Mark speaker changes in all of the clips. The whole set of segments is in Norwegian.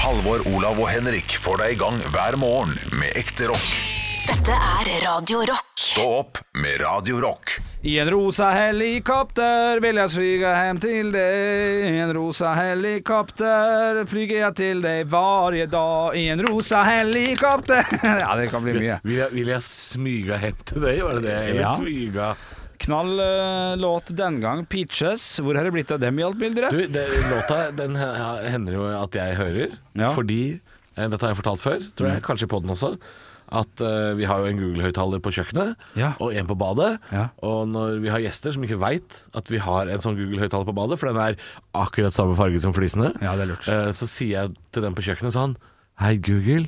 Speaker 1: Halvor, Olav og Henrik får deg i gang hver morgen med ekte rock.
Speaker 2: Dette er Radio Rock.
Speaker 1: Stå opp med Radio Rock.
Speaker 3: I en rosa helikopter vil jeg flyge hjem til deg. I en rosa helikopter flyger jeg til deg hver dag. I en rosa helikopter Ja, det kan bli mye.
Speaker 4: Vil jeg, vil jeg smyga hen til deg, var det det? Eller
Speaker 3: Ja.
Speaker 4: smyga
Speaker 3: Knall eh, låt den gang. Peaches. Hvor har det blitt av dem i alt bildet?
Speaker 4: Du, det, låta den he- hender jo at jeg hører,
Speaker 3: Ja. Mm.
Speaker 4: fordi eh, Dette har jeg fortalt før, tror jeg, kanskje i poden også. At eh, vi har jo en Google-høyttaler på kjøkkenet,
Speaker 3: Ja.
Speaker 4: og en på badet.
Speaker 3: Ja.
Speaker 4: Og når vi har gjester som ikke veit at vi har en sånn Google-høyttaler på badet, for den er akkurat samme farge som flisene,
Speaker 3: Ja, det er lurt.
Speaker 4: eh, så sier jeg til den på kjøkkenet sånn Hei, Google,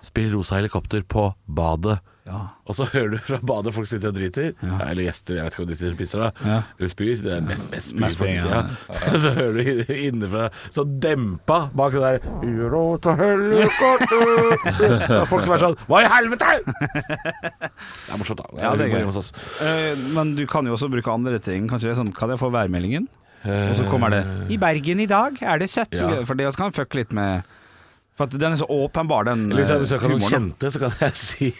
Speaker 4: spill Rosa helikopter på badet.
Speaker 3: Ja.
Speaker 4: Og så hører du fra badet folk sitter og driter, eller gjester, jeg vet ikke om de sitter og pisser da, eller spyr, det er mest, mest spyr
Speaker 3: Mest spyr,
Speaker 4: faktisk,
Speaker 3: ja.
Speaker 4: ja. Så hører du innenfra, så dempa bak det der, «Urota helikopter!» Det er folk som er sånn, hva i helvete? Det er morsomt da,
Speaker 3: Ja, det er
Speaker 4: humor
Speaker 3: gøy.
Speaker 4: hjemme hos oss.
Speaker 3: Eh, Men du kan jo også bruke andre ting. Kanskje det er sånn Kan jeg få værmeldingen? Og så kommer det
Speaker 5: Eh.
Speaker 3: I Bergen i dag er det 17
Speaker 4: Ja.
Speaker 3: grader. For det kan fucke litt med For at den er så åpenbar, den
Speaker 4: Eller hvis
Speaker 3: eh,
Speaker 4: jeg besøker noen
Speaker 3: humoren.
Speaker 4: kjente, så kan jeg si,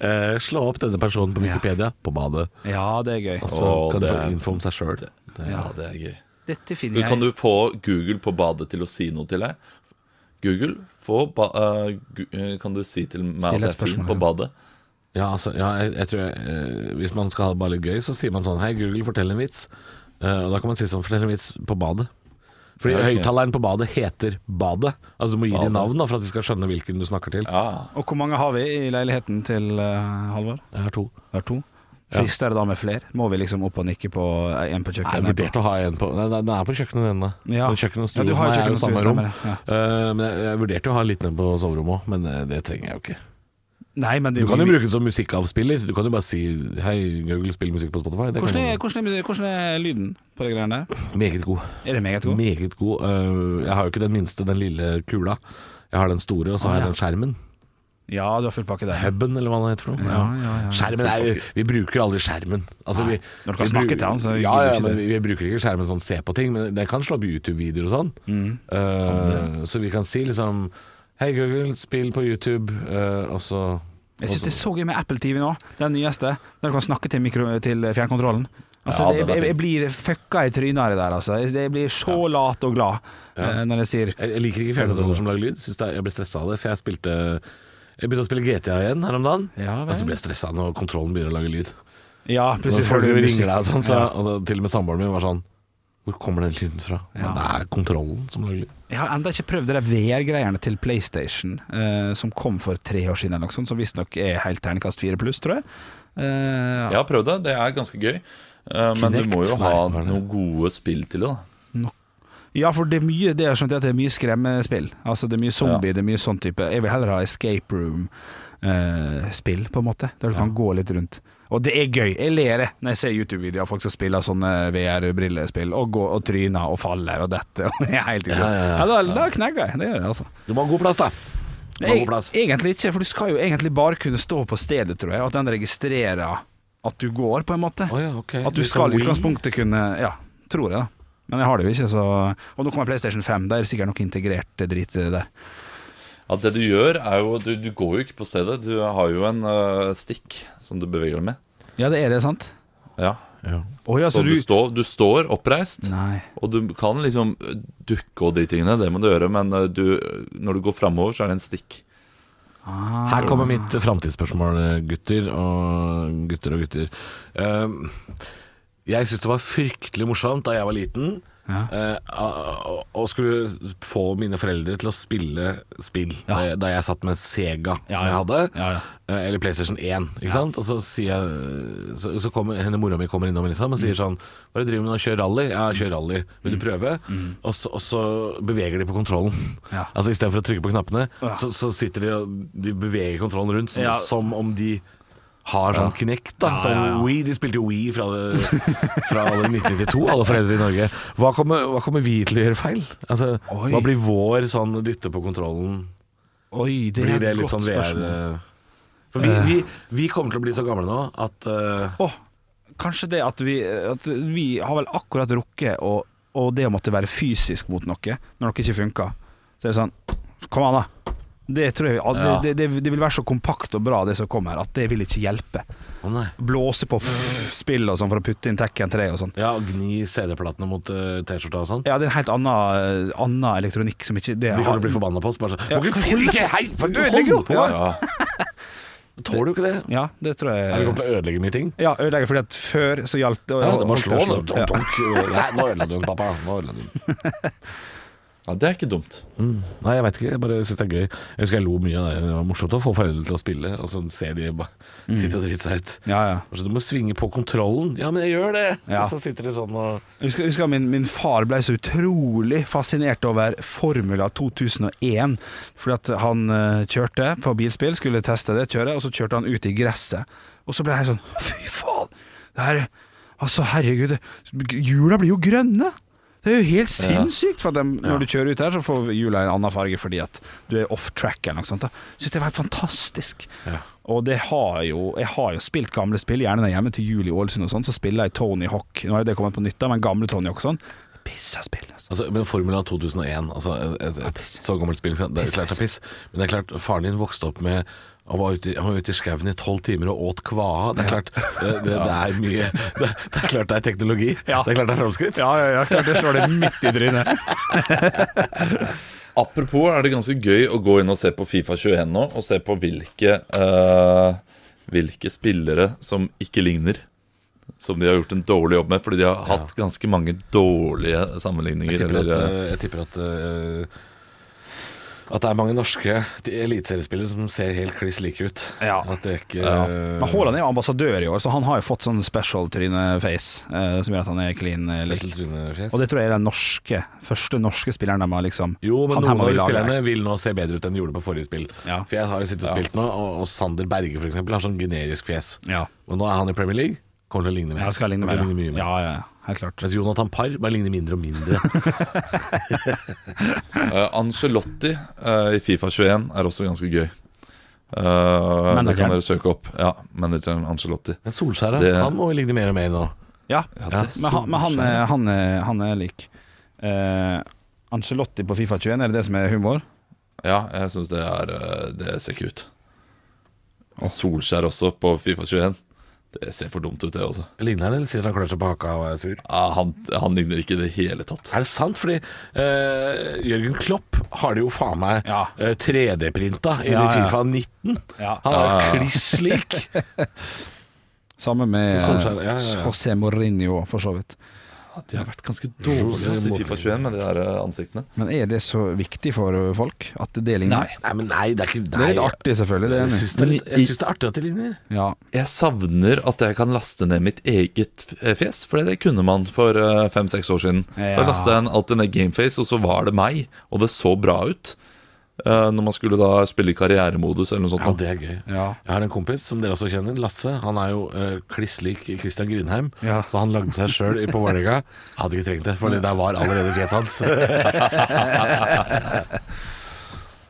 Speaker 4: eh, slå opp denne personen på Wikipedia, på badet,
Speaker 3: Ja, det er gøy.
Speaker 4: og så
Speaker 5: Å,
Speaker 4: kan du
Speaker 5: det
Speaker 4: få
Speaker 5: er-
Speaker 4: info om seg selv.
Speaker 5: Ja, det er gøy.
Speaker 3: Dette finner
Speaker 5: Men
Speaker 3: jeg
Speaker 5: Kan du få Google på badet til å si noe til deg? Google, få ba eh, gu- eh, kan du si til meg
Speaker 3: Still
Speaker 5: at
Speaker 3: et
Speaker 5: det er film
Speaker 3: spørsmål,
Speaker 5: på
Speaker 3: liksom.
Speaker 5: badet?
Speaker 4: Ja, altså, ja jeg, jeg tror jeg, eh, Hvis man skal ha det bare litt gøy, så sier man sånn Hei, Google, fortell en vits. Eh, og da kan man si sånn Fortell en vits på badet. Fordi
Speaker 5: Ja, ok.
Speaker 4: høyttaleren på badet heter Badet. Altså Du må gi
Speaker 5: Badet.
Speaker 4: dem navn da for at vi skal skjønne hvilken du snakker til.
Speaker 5: Ja.
Speaker 3: Og hvor mange har vi i leiligheten til eh, Halvor?
Speaker 4: Jeg har to.
Speaker 3: Vi har to. Frister det da med flere? Må vi liksom opp og nikke på eh, en på
Speaker 4: Jeg
Speaker 3: kjøkkenet?
Speaker 4: vurderte å ha en på Nei, nei, den er på kjøkkenet, denne.
Speaker 3: Ja.
Speaker 4: Men Kjøkken og stue
Speaker 3: Ja, du
Speaker 4: for
Speaker 3: har
Speaker 4: meg
Speaker 3: kjøkken
Speaker 4: er
Speaker 3: og
Speaker 4: jo
Speaker 3: stue,
Speaker 4: samme rom.
Speaker 3: stemmer det, ja.
Speaker 4: Eh, men jeg, jeg vurderte å ha en liten en på soverommet òg, men eh, det trenger jeg jo ikke.
Speaker 3: Nei, men det,
Speaker 4: Du kan jo bruke den som musikkavspiller. Du kan jo bare si Hei, Google, spill musikk på Spotify. Det
Speaker 3: hvordan er,
Speaker 4: kan
Speaker 3: hvordan, er, hvordan er lyden på de greiene der?
Speaker 4: man. Meget god.
Speaker 3: Er det meget god?
Speaker 4: Meget god. Eh, jeg har jo ikke den minste, den lille kula. Jeg har den store, og så har jeg
Speaker 3: Ah, ja.
Speaker 4: den skjermen.
Speaker 3: Ja, du har full pakke der.
Speaker 4: Hubben, eller hva den heter for noe.
Speaker 3: Ja, ja, ja.
Speaker 4: Skjermen er, jo- vi bruker aldri skjermen. Altså,
Speaker 3: Nei,
Speaker 4: vi,
Speaker 3: når du kan
Speaker 4: vi
Speaker 3: snakke
Speaker 4: bru-
Speaker 3: til han, så
Speaker 4: ja,
Speaker 3: gidder du
Speaker 4: ja,
Speaker 3: ikke det.
Speaker 4: men vi, vi bruker ikke skjermen sånn se på ting, men den kan slå opp YouTube-videoer og sånn.
Speaker 3: Mm.
Speaker 4: Eh, så vi kan si liksom Hei Google, spill på YouTube, eh, og så
Speaker 3: Jeg syns det er så gøy med Apple TV nå, den nyeste. Der du kan snakke til, mikro, til fjernkontrollen. Altså,
Speaker 5: Ja,
Speaker 3: det,
Speaker 5: den er
Speaker 3: jeg,
Speaker 5: fin.
Speaker 3: jeg blir fucka i trynet av det der, altså. Jeg, jeg blir så lat og glad eh, når jeg sier
Speaker 4: Jeg, jeg liker ikke fjernkontroller som lager lyd. Synes det, er- jeg ble stressa av det, for jeg spilte Jeg begynte å spille GTA igjen her om dagen,
Speaker 3: Ja, vel.
Speaker 4: og så ble jeg stressa når kontrollen begynner å lage lyd.
Speaker 3: Ja,
Speaker 4: Når
Speaker 3: plutselig får
Speaker 4: folk
Speaker 3: du
Speaker 4: ringer
Speaker 3: musikk.
Speaker 4: deg og sånn, så,
Speaker 3: Ja.
Speaker 4: og da, til og med samboeren min var sånn Hvor kommer den lyden fra? Ja. Det er kontrollen som lager lyd.
Speaker 3: Jeg har enda ikke prøvd det der VR-greiene til PlayStation, eh, som kom for tre år siden, eller noe sånt, som visstnok er helt terningkast fire pluss, tror jeg. Eh,
Speaker 5: Jeg har prøvd det, det er ganske gøy. Eh, men
Speaker 3: Kinect?
Speaker 5: du må jo ha
Speaker 4: Nei, var det-
Speaker 5: noen gode spill til det, da.
Speaker 3: ja, for det er mye det har skjønt jeg at det er mye skremmespill. Altså det er mye zombie, det er mye sånn type. Jeg vil heller ha escape room-spill, på en måte, der du kan gå litt rundt. Og det er gøy. Jeg ler jeg når jeg ser YouTube-videoer av folk som spiller sånne VR-brillespill, og går og tryner og faller og detter. Og det er helt ja,
Speaker 4: Ja, ja, ja.
Speaker 3: da, da knegger jeg. Det gjør jeg, altså.
Speaker 4: Du må ha god plass, da! Du må ha god plass.
Speaker 3: Eg- Egentlig ikke, for du skal jo egentlig bare kunne stå på stedet, tror jeg. og At den registrerer at du går, på en måte.
Speaker 4: Å ja, ok.
Speaker 3: At du
Speaker 4: Litt
Speaker 3: skal i
Speaker 4: sånn Wii.
Speaker 3: utgangspunktet kunne Ja, tror jeg, da. Men jeg har det jo ikke, så Og nå kommer PlayStation 5, det er sikkert noe integrert drit der.
Speaker 5: Ja, det du gjør, er jo Du, du går jo ikke på stedet. Du har jo en eh, stikk som du beveger deg med.
Speaker 3: Ja, det er det, sant?
Speaker 5: Ja.
Speaker 4: Ja.
Speaker 3: Å ja,
Speaker 5: Så
Speaker 3: så
Speaker 5: du,
Speaker 3: du
Speaker 5: står, du står oppreist,
Speaker 3: Nei.
Speaker 5: og du kan liksom eh, dukke og de tingene. Det må du gjøre, men eh, du, når du går framover, så er det en stikk.
Speaker 4: Her kommer mitt framtidsspørsmål, gutter og gutter og gutter. Ehm, jeg syns det var fryktelig morsomt da jeg var liten. eh, å- å skulle få mine foreldre til å spille spill da, jeg, da jeg satt med Sega
Speaker 3: Ja,
Speaker 4: som jeg
Speaker 3: ja.
Speaker 4: hadde,
Speaker 3: Ja, ja.
Speaker 4: eh, eller PlayStation 1. Ikke sant? Og så sier jeg eh, Så, så kommer henne mora mi kommer innom liksom, og
Speaker 3: Mm.
Speaker 4: sier sånn Hva er det du driver med nå? Kjør rally? Ja, kjør rally. Vil du prøve? Og, så, og så beveger de på kontrollen.
Speaker 3: Mm. Ja.
Speaker 4: Altså Istedenfor å trykke på knappene,
Speaker 3: Ja.
Speaker 4: så, så sitter de og de beveger kontrollen rundt som,
Speaker 3: Ja.
Speaker 4: som om de har sånn Kinect, da.
Speaker 3: Ja,
Speaker 4: sånn
Speaker 3: ja, ja.
Speaker 4: Wii, de spilte jo Wii fra, det, fra alle 1992, alle foreldre i Norge. Hva kommer, hva kommer vi til å gjøre feil? Altså,
Speaker 3: Oi.
Speaker 4: hva blir vår sånn dytte på kontrollen?
Speaker 3: Oi, det
Speaker 4: Blir
Speaker 3: er
Speaker 4: det
Speaker 3: et
Speaker 4: litt
Speaker 3: godt
Speaker 4: sånn VR
Speaker 3: spørsmål.
Speaker 4: For vi, vi, vi kommer til å bli så gamle nå at eh,
Speaker 3: Å, kanskje det at vi, at vi har vel akkurat rukket og, og det å måtte være fysisk mot noe når noe ikke funker. Så er det sånn Kom an, da. Det, tror jeg, det,
Speaker 5: Ja.
Speaker 3: det, det, det vil være så kompakt og bra, det som kommer, at det vil ikke hjelpe.
Speaker 4: Å nei.
Speaker 3: Blåse på spill og sånn for å putte inn Tekken 3 og sånn.
Speaker 4: Ja, og gni CD-platene mot eh, T-skjorta og sånn.
Speaker 3: Ja, det er en helt annen, annen elektronikk som ikke det har-
Speaker 4: De kommer til å bli forbanna på oss. Bare sånn
Speaker 3: Ja.
Speaker 4: Hvorfor får du ikke Hei, for du
Speaker 3: Du ødelegger jo.
Speaker 4: holder på!
Speaker 5: Ja.
Speaker 4: Tåler jo ikke det.
Speaker 3: Ja, det tror jeg.
Speaker 4: Nei, det kommer til å ødelegge mye ting.
Speaker 3: Ja, ødelegge fordi at før så hjalp det.
Speaker 4: Ja, det må
Speaker 3: holdt
Speaker 4: slå,
Speaker 3: å
Speaker 4: det.
Speaker 3: Ja.
Speaker 4: Tonk, tonk. Nei, nå ødela du den, pappa. Nå ødela du den.
Speaker 5: Ja, det er ikke dumt.
Speaker 4: Nei, jeg veit ikke. Jeg bare syns det er gøy. Jeg husker jeg lo mye av det. Det var morsomt å få foreldre til å spille, og så ser de bare sitte og drite seg ut.
Speaker 3: Ja, ja.
Speaker 4: Altså, du må svinge på kontrollen. Ja, men jeg gjør det!
Speaker 3: Ja.
Speaker 4: Og så sitter de sånn og
Speaker 3: Jeg husker, jeg husker min, min far ble så utrolig fascinert over Formula 2001. Fordi at han eh, kjørte på bilspill, skulle teste det, kjøre, og så kjørte han ut i gresset. Og så ble jeg sånn Fy faen! Det her, altså, herregud, det- hjula blir jo grønne! Det er jo helt sinnssykt! For at dem- når du kjører ut her, så får hjula en annen farge fordi at du er off track eller noe sånt. da. Syns det var helt fantastisk. Og det har jo, jeg har jo spilt gamle spill, gjerne når jeg er hjemme til jul i Ålesund og sånn, så spiller jeg Tony Hawk. Nå har jo det kommet på nytt, da, men gamle Tony Hawk og sånn. Pissa spill, altså.
Speaker 4: altså, Men Formula 2001, altså et, et, et så gammelt spill, det er
Speaker 3: Piss,
Speaker 4: klart det er piss. Men det er klart, faren din vokste opp med han var ute, i- han var ute i skauen i tolv timer og åt kvae. Det er klart det, det, det er mye det, det er klart det er teknologi.
Speaker 3: Ja.
Speaker 4: Det er klart det er framskritt.
Speaker 3: Ja, ja, ja, klart det slår det midt i trynet.
Speaker 5: Apropos er det ganske gøy å gå inn og se på Fifa 21 nå, og se på hvilke, eh, hvilke spillere som ikke ligner. Som de har gjort en dårlig jobb med, fordi de har hatt ganske mange dårlige sammenligninger.
Speaker 4: Jeg tipper at,
Speaker 5: Eller, eh,
Speaker 4: eh, jeg tipper at eh, At det er mange norske eliteseriespillere som ser helt kliss like ut.
Speaker 3: Ja.
Speaker 4: At det er ikke eh,
Speaker 3: Men Haaland er jo ambassadør i år, så han har jo fått sånn special-tryne-face, eh, som gjør at han er clean eh, lik.
Speaker 4: Bertil Trynefjes.
Speaker 3: Og det tror jeg er den norske, første norske spilleren de har liksom
Speaker 4: Jo, men
Speaker 3: han her
Speaker 4: noen
Speaker 3: må
Speaker 4: av
Speaker 3: vi
Speaker 4: de
Speaker 3: lage.
Speaker 4: spillerne vil nå se bedre ut enn de gjorde på forrige spill.
Speaker 3: Ja.
Speaker 4: For jeg har jo sittet og spilt nå, og, og Sander Berge for eksempel har sånn generisk fjes.
Speaker 3: Ja.
Speaker 4: Og nå er han i Premier League, kommer til å ligne mer.
Speaker 3: Ja, skal ligne
Speaker 4: Kommer
Speaker 3: mer.
Speaker 4: til å ligne mye mer.
Speaker 3: Ja, ja, ja, helt klart.
Speaker 4: Mens Jonathan Parr bare ligner mindre og mindre.
Speaker 5: eh, Ancelotti eh, i Fifa 21 er også ganske gøy. Eh, det
Speaker 3: Manageren.
Speaker 5: kan dere søke opp. Ja, manageren Ancelotti.
Speaker 4: Men Solskjær,
Speaker 5: Det-
Speaker 4: han må jo ligne mer og mer nå.
Speaker 3: Ja,
Speaker 5: Ja,
Speaker 4: Ja,
Speaker 5: det
Speaker 3: men han, men han,
Speaker 5: Solskjær.
Speaker 3: er- han, er- han er lik. Eh, Ancelotti på Fifa 21, er det det som er humor?
Speaker 5: Ja, jeg syns det er eh, Det ser ikke ut. Solskjær også på Fifa 21. Det ser for dumt ut, det også.
Speaker 4: Ligner han, eller sitter han og klør seg på haka og er sur?
Speaker 5: Ja, han, han ligner ikke i det hele tatt.
Speaker 4: Er det sant? Fordi eh, Jørgen Klopp har det jo faen meg
Speaker 3: Ja.
Speaker 4: eh, 3D-printa i
Speaker 3: Ja, ja.
Speaker 4: Fifa 19.
Speaker 3: Ja.
Speaker 4: Han er
Speaker 5: Ah.
Speaker 4: kliss lik.
Speaker 3: Sammen med
Speaker 4: Så Solskjær, ja, ja, ja.
Speaker 3: eh, José Mourinho, for så vidt.
Speaker 5: Ja, de har vært ganske dårlige altså, i Fifa 21 med de der eh, ansiktene.
Speaker 3: Men er det så viktig for eh, folk at det ligner?
Speaker 5: Nei.
Speaker 4: Nei, men nei, det er ikke
Speaker 3: Det er litt
Speaker 4: nei.
Speaker 3: artig, selvfølgelig. Det er
Speaker 4: Jeg
Speaker 3: enig.
Speaker 4: syns det, er litt-
Speaker 5: Men i-
Speaker 4: jeg syns det er artig at de ligner.
Speaker 3: Ja.
Speaker 5: Jeg savner at jeg kan laste ned mitt eget eh, fjes, for det kunne man for fem-seks år siden. Da
Speaker 3: Ja.
Speaker 5: lasta jeg alltid ned Gameface, og så var det meg, og det så bra ut. Eh, Når man skulle da spille i karrieremodus eller noe sånt.
Speaker 4: Ja, det er gøy.
Speaker 3: Ja.
Speaker 4: Jeg har en kompis som dere også kjenner, Lasse. Han er jo eh, kliss lik Christian Grindheim,
Speaker 3: Ja.
Speaker 4: så han lagde seg sjøl på Vålerenga. Hadde ikke trengt det, for der var allerede fjeset hans.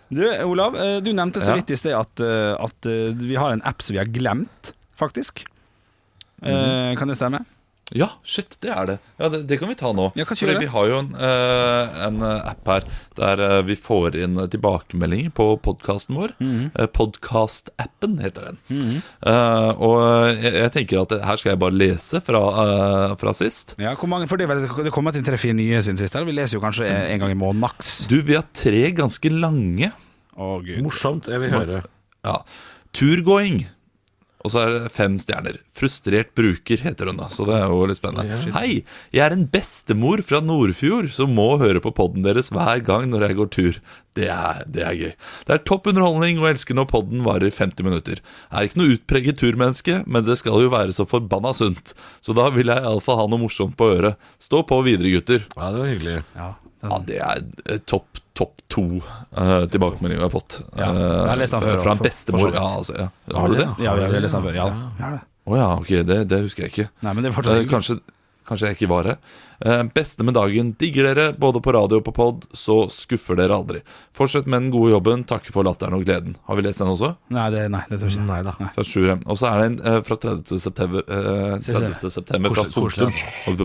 Speaker 3: Du, Olav, eh, du nevnte så
Speaker 5: Ja.
Speaker 3: vidt i sted at, eh, at eh, vi har en app som vi har glemt, faktisk. Eh,
Speaker 4: Mhm.
Speaker 3: Kan det stemme?
Speaker 5: Ja, shit, det er det. Ja, Det, det kan vi ta nå.
Speaker 3: Ja, kanskje gjøre det.
Speaker 5: Fordi vi har jo en, eh, en eh, app her der eh, vi får inn eh, tilbakemeldinger på podkasten vår.
Speaker 3: Mhm.
Speaker 5: Eh, Podcast-appen heter den. Eh, og eh, jeg, jeg tenker at her skal jeg bare lese fra, eh, fra sist.
Speaker 3: Ja, hvor mange, for det, er vel- det kommer til tre-fire nye siden sist. eller? Vi leser jo kanskje eh, en gang i måneden maks.
Speaker 5: Du, vi har tre ganske lange.
Speaker 3: Å, gud.
Speaker 4: Morsomt, jeg vil høre.
Speaker 5: Ja. Turgåing. Og så er det fem stjerner. Frustrert bruker heter hun, da. Så det er jo litt spennende. Hei! Jeg er en bestemor fra Nordfjord som må høre på podden deres hver gang når jeg går tur. Det er, det er gøy. Det er topp underholdning og elsker når podden varer 50 minutter. Jeg er ikke noe utpreget turmenneske, men det skal jo være så forbanna sunt. Så da vil jeg iallfall ha noe morsomt på øret. Stå på videre, gutter.
Speaker 4: Ja, det var hyggelig.
Speaker 3: Ja, den,
Speaker 5: Ja, det er eh, topp topp to eh, tilbakemeldinger jeg har fått.
Speaker 3: Ja, jeg har lest den før,
Speaker 5: Eh, fra en
Speaker 3: for- for
Speaker 5: bestemor.
Speaker 3: så vidt.
Speaker 5: Ja, altså, ja. Har du det?
Speaker 3: ja, vi har lest den før. Ja, ja. det.
Speaker 5: Å ja, ok, det, det husker jeg ikke.
Speaker 3: Nei, men det er
Speaker 5: Eh,
Speaker 3: fortsatt
Speaker 5: kanskje Kanskje jeg ikke var her. Eh, beste med dagen. Digger dere, både på radio og på pod, så skuffer dere aldri. Fortsett med den gode jobben. Takker for latteren og gleden. Har vi lest den også?
Speaker 3: Nei, det, nei, det tror jeg ikke.
Speaker 4: Nei da.
Speaker 5: Fra Sjurem. Og så er det en eh, fra 30. september, eh, 30. september fra
Speaker 4: Koselig,
Speaker 5: Sortland.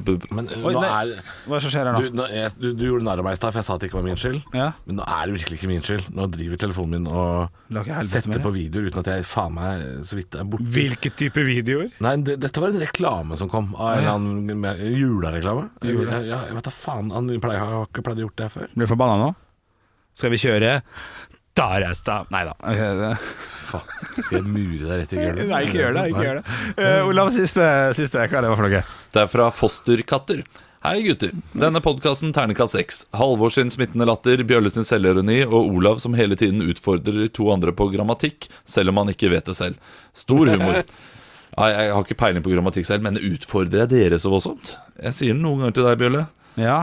Speaker 3: altså.
Speaker 4: Men eh,
Speaker 3: Oi,
Speaker 4: nå
Speaker 3: nei.
Speaker 4: er
Speaker 3: Hva er det som skjer her
Speaker 4: du,
Speaker 3: nå?
Speaker 4: nå, jeg, du, du gjorde narr av meg i stad, for jeg sa at det ikke var min skyld.
Speaker 3: Ja.
Speaker 4: Men nå er det virkelig ikke min skyld. Nå driver telefonen min
Speaker 3: Lager
Speaker 4: og
Speaker 3: helvete med
Speaker 4: setter
Speaker 3: det.
Speaker 4: på videoer uten at jeg faen meg eh, så vidt er borte.
Speaker 3: Hvilke type videoer?
Speaker 4: Nei, det, dette var en reklame som kom. Av en eller annen mer- julereklame. Ja, jeg vet da faen. Han pleier, har ikke pleid å gjort det før.
Speaker 3: Blir du forbanna nå? Skal vi kjøre? Da reis deg Nei da.
Speaker 4: Faen. Skal jeg mure deg rett i gulvet?
Speaker 3: Nei, ikke gjør det. Ikke gjør det. Eh, Olav, siste, siste. Hva er det for noe?
Speaker 5: Det er fra Fosterkatter. Hei, gutter. Denne podkasten ternekast seks. Halvor sin smittende latter, Bjølle sin selvironi og Olav som hele tiden utfordrer to andre på grammatikk, selv om han ikke vet det selv. Stor humor. Nei, jeg har ikke peiling på grammatikk selv, men utfordrer jeg dere så voldsomt? Jeg sier det noen ganger til deg, Bjølle,
Speaker 3: Ja.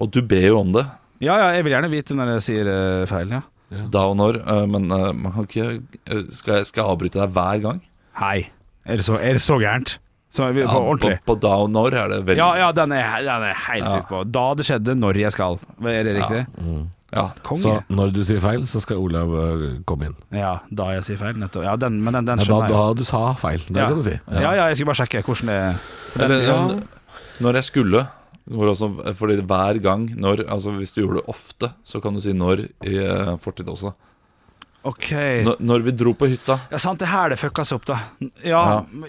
Speaker 5: og du ber jo om det.
Speaker 3: ja, ja, jeg vil gjerne vite når jeg sier eh, feil, ja.
Speaker 5: Da og når, øh, men øh, man kan ikke øh, Skal jeg, skal jeg avbryte deg hver gang?
Speaker 3: Hei. Er det så, er det så gærent? Så vi, på
Speaker 5: på,
Speaker 3: ordentlig?
Speaker 5: på da og når er det veldig
Speaker 3: Ja, ja, den er, den er helt ute på. Da det skjedde, når jeg skal. Er det riktig?
Speaker 5: Ja.
Speaker 3: Konge.
Speaker 4: Så når du sier feil, så skal Olav eh, komme inn.
Speaker 3: Ja, da jeg sier feil, nettopp. Ja, den, men den, den
Speaker 4: Nei, da,
Speaker 3: skjønner
Speaker 4: da
Speaker 3: jeg.
Speaker 4: du sa feil. Det
Speaker 3: Ja.
Speaker 4: kan du si.
Speaker 3: Ja, ja, jeg skulle bare sjekke hvordan det
Speaker 5: Eller,
Speaker 4: Ja.
Speaker 5: ja. Når jeg skulle går også, Fordi hver gang når, altså Hvis du gjorde det ofte, så kan du si når i eh, fortid også. da.
Speaker 3: OK.
Speaker 5: Når, når vi dro på hytta
Speaker 3: Ja, sant, det er her det fuckas opp, da. Ja,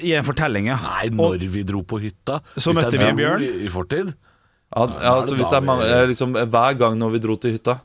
Speaker 3: i en fortelling, ja.
Speaker 4: Nei,
Speaker 3: Og-
Speaker 4: når vi dro på hytta.
Speaker 3: Så
Speaker 4: Hvis det
Speaker 3: møtte
Speaker 4: er
Speaker 3: vi en
Speaker 4: nord
Speaker 3: bjørn.
Speaker 4: I, i fortid.
Speaker 5: ja, ja, altså, hvis det er, mange- eh, liksom, Hver gang når vi dro til hytta.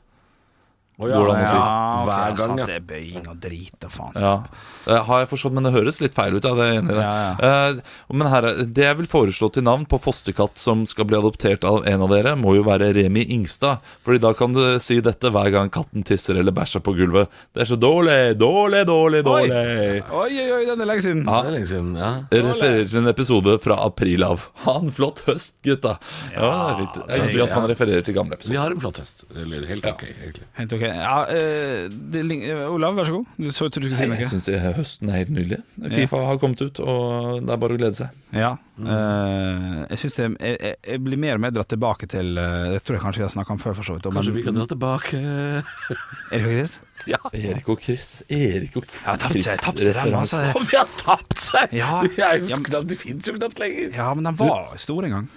Speaker 4: Å,
Speaker 5: Går det an å si?
Speaker 3: Ja, ok,
Speaker 4: Hver gang,
Speaker 3: sant,
Speaker 4: ja.
Speaker 3: Det er bøying og drit og faen.
Speaker 5: Ja. Eh, Har jeg forstått, men det høres litt feil ut. Ja, det er jeg enig i det.
Speaker 3: Ja,
Speaker 5: Eh, men her, er- det jeg vil foreslå til navn på fosterkatt som skal bli adoptert av en av dere, må jo være Remi Ingstad. Fordi da kan du si dette hver gang katten tisser eller bæsjer på gulvet. Det er så dårlig, dårlig, dårlig,
Speaker 3: Oi.
Speaker 5: dårlig.
Speaker 3: Oi, oi, oi, den er lenge siden.
Speaker 4: Ja, Det er lenge siden. Ja.
Speaker 5: Jeg refererer til en episode fra april av. Ha en flott høst, gutta. Ja, det er fint. Det er hyggelig at man refererer til gamle
Speaker 4: Vi
Speaker 5: episoder.
Speaker 4: har en flott høst. Eller helt ok, egentlig.
Speaker 3: Helt ok. Ja, eh, det, lign- eh, Olav, vær så god. Du så tror du skulle si
Speaker 5: Nei, Jeg
Speaker 3: noe.
Speaker 5: syns høsten er helt nydelig. Fifa har kommet ut, og det er bare å glede seg.
Speaker 3: Ja.
Speaker 4: Mm.
Speaker 3: eh, jeg syns det jeg, jeg- jeg blir mer og mer dratt tilbake til eh, Det tror jeg kanskje vi har snakka om før, for så vidt. om-
Speaker 4: Kanskje vi kan dra tilbake
Speaker 3: Erik og Chris?
Speaker 4: Ja.
Speaker 5: Erik og Chris. Erik og
Speaker 3: Ja, tapt seg- tapt seg dem, altså.
Speaker 5: Chris-referanse.
Speaker 4: Om vi har tapt seg!
Speaker 3: Ja.
Speaker 4: Det, er jo
Speaker 3: Ja, men-
Speaker 4: knapt, det finnes jo knapt lenger.
Speaker 3: Ja, men den var stor en gang.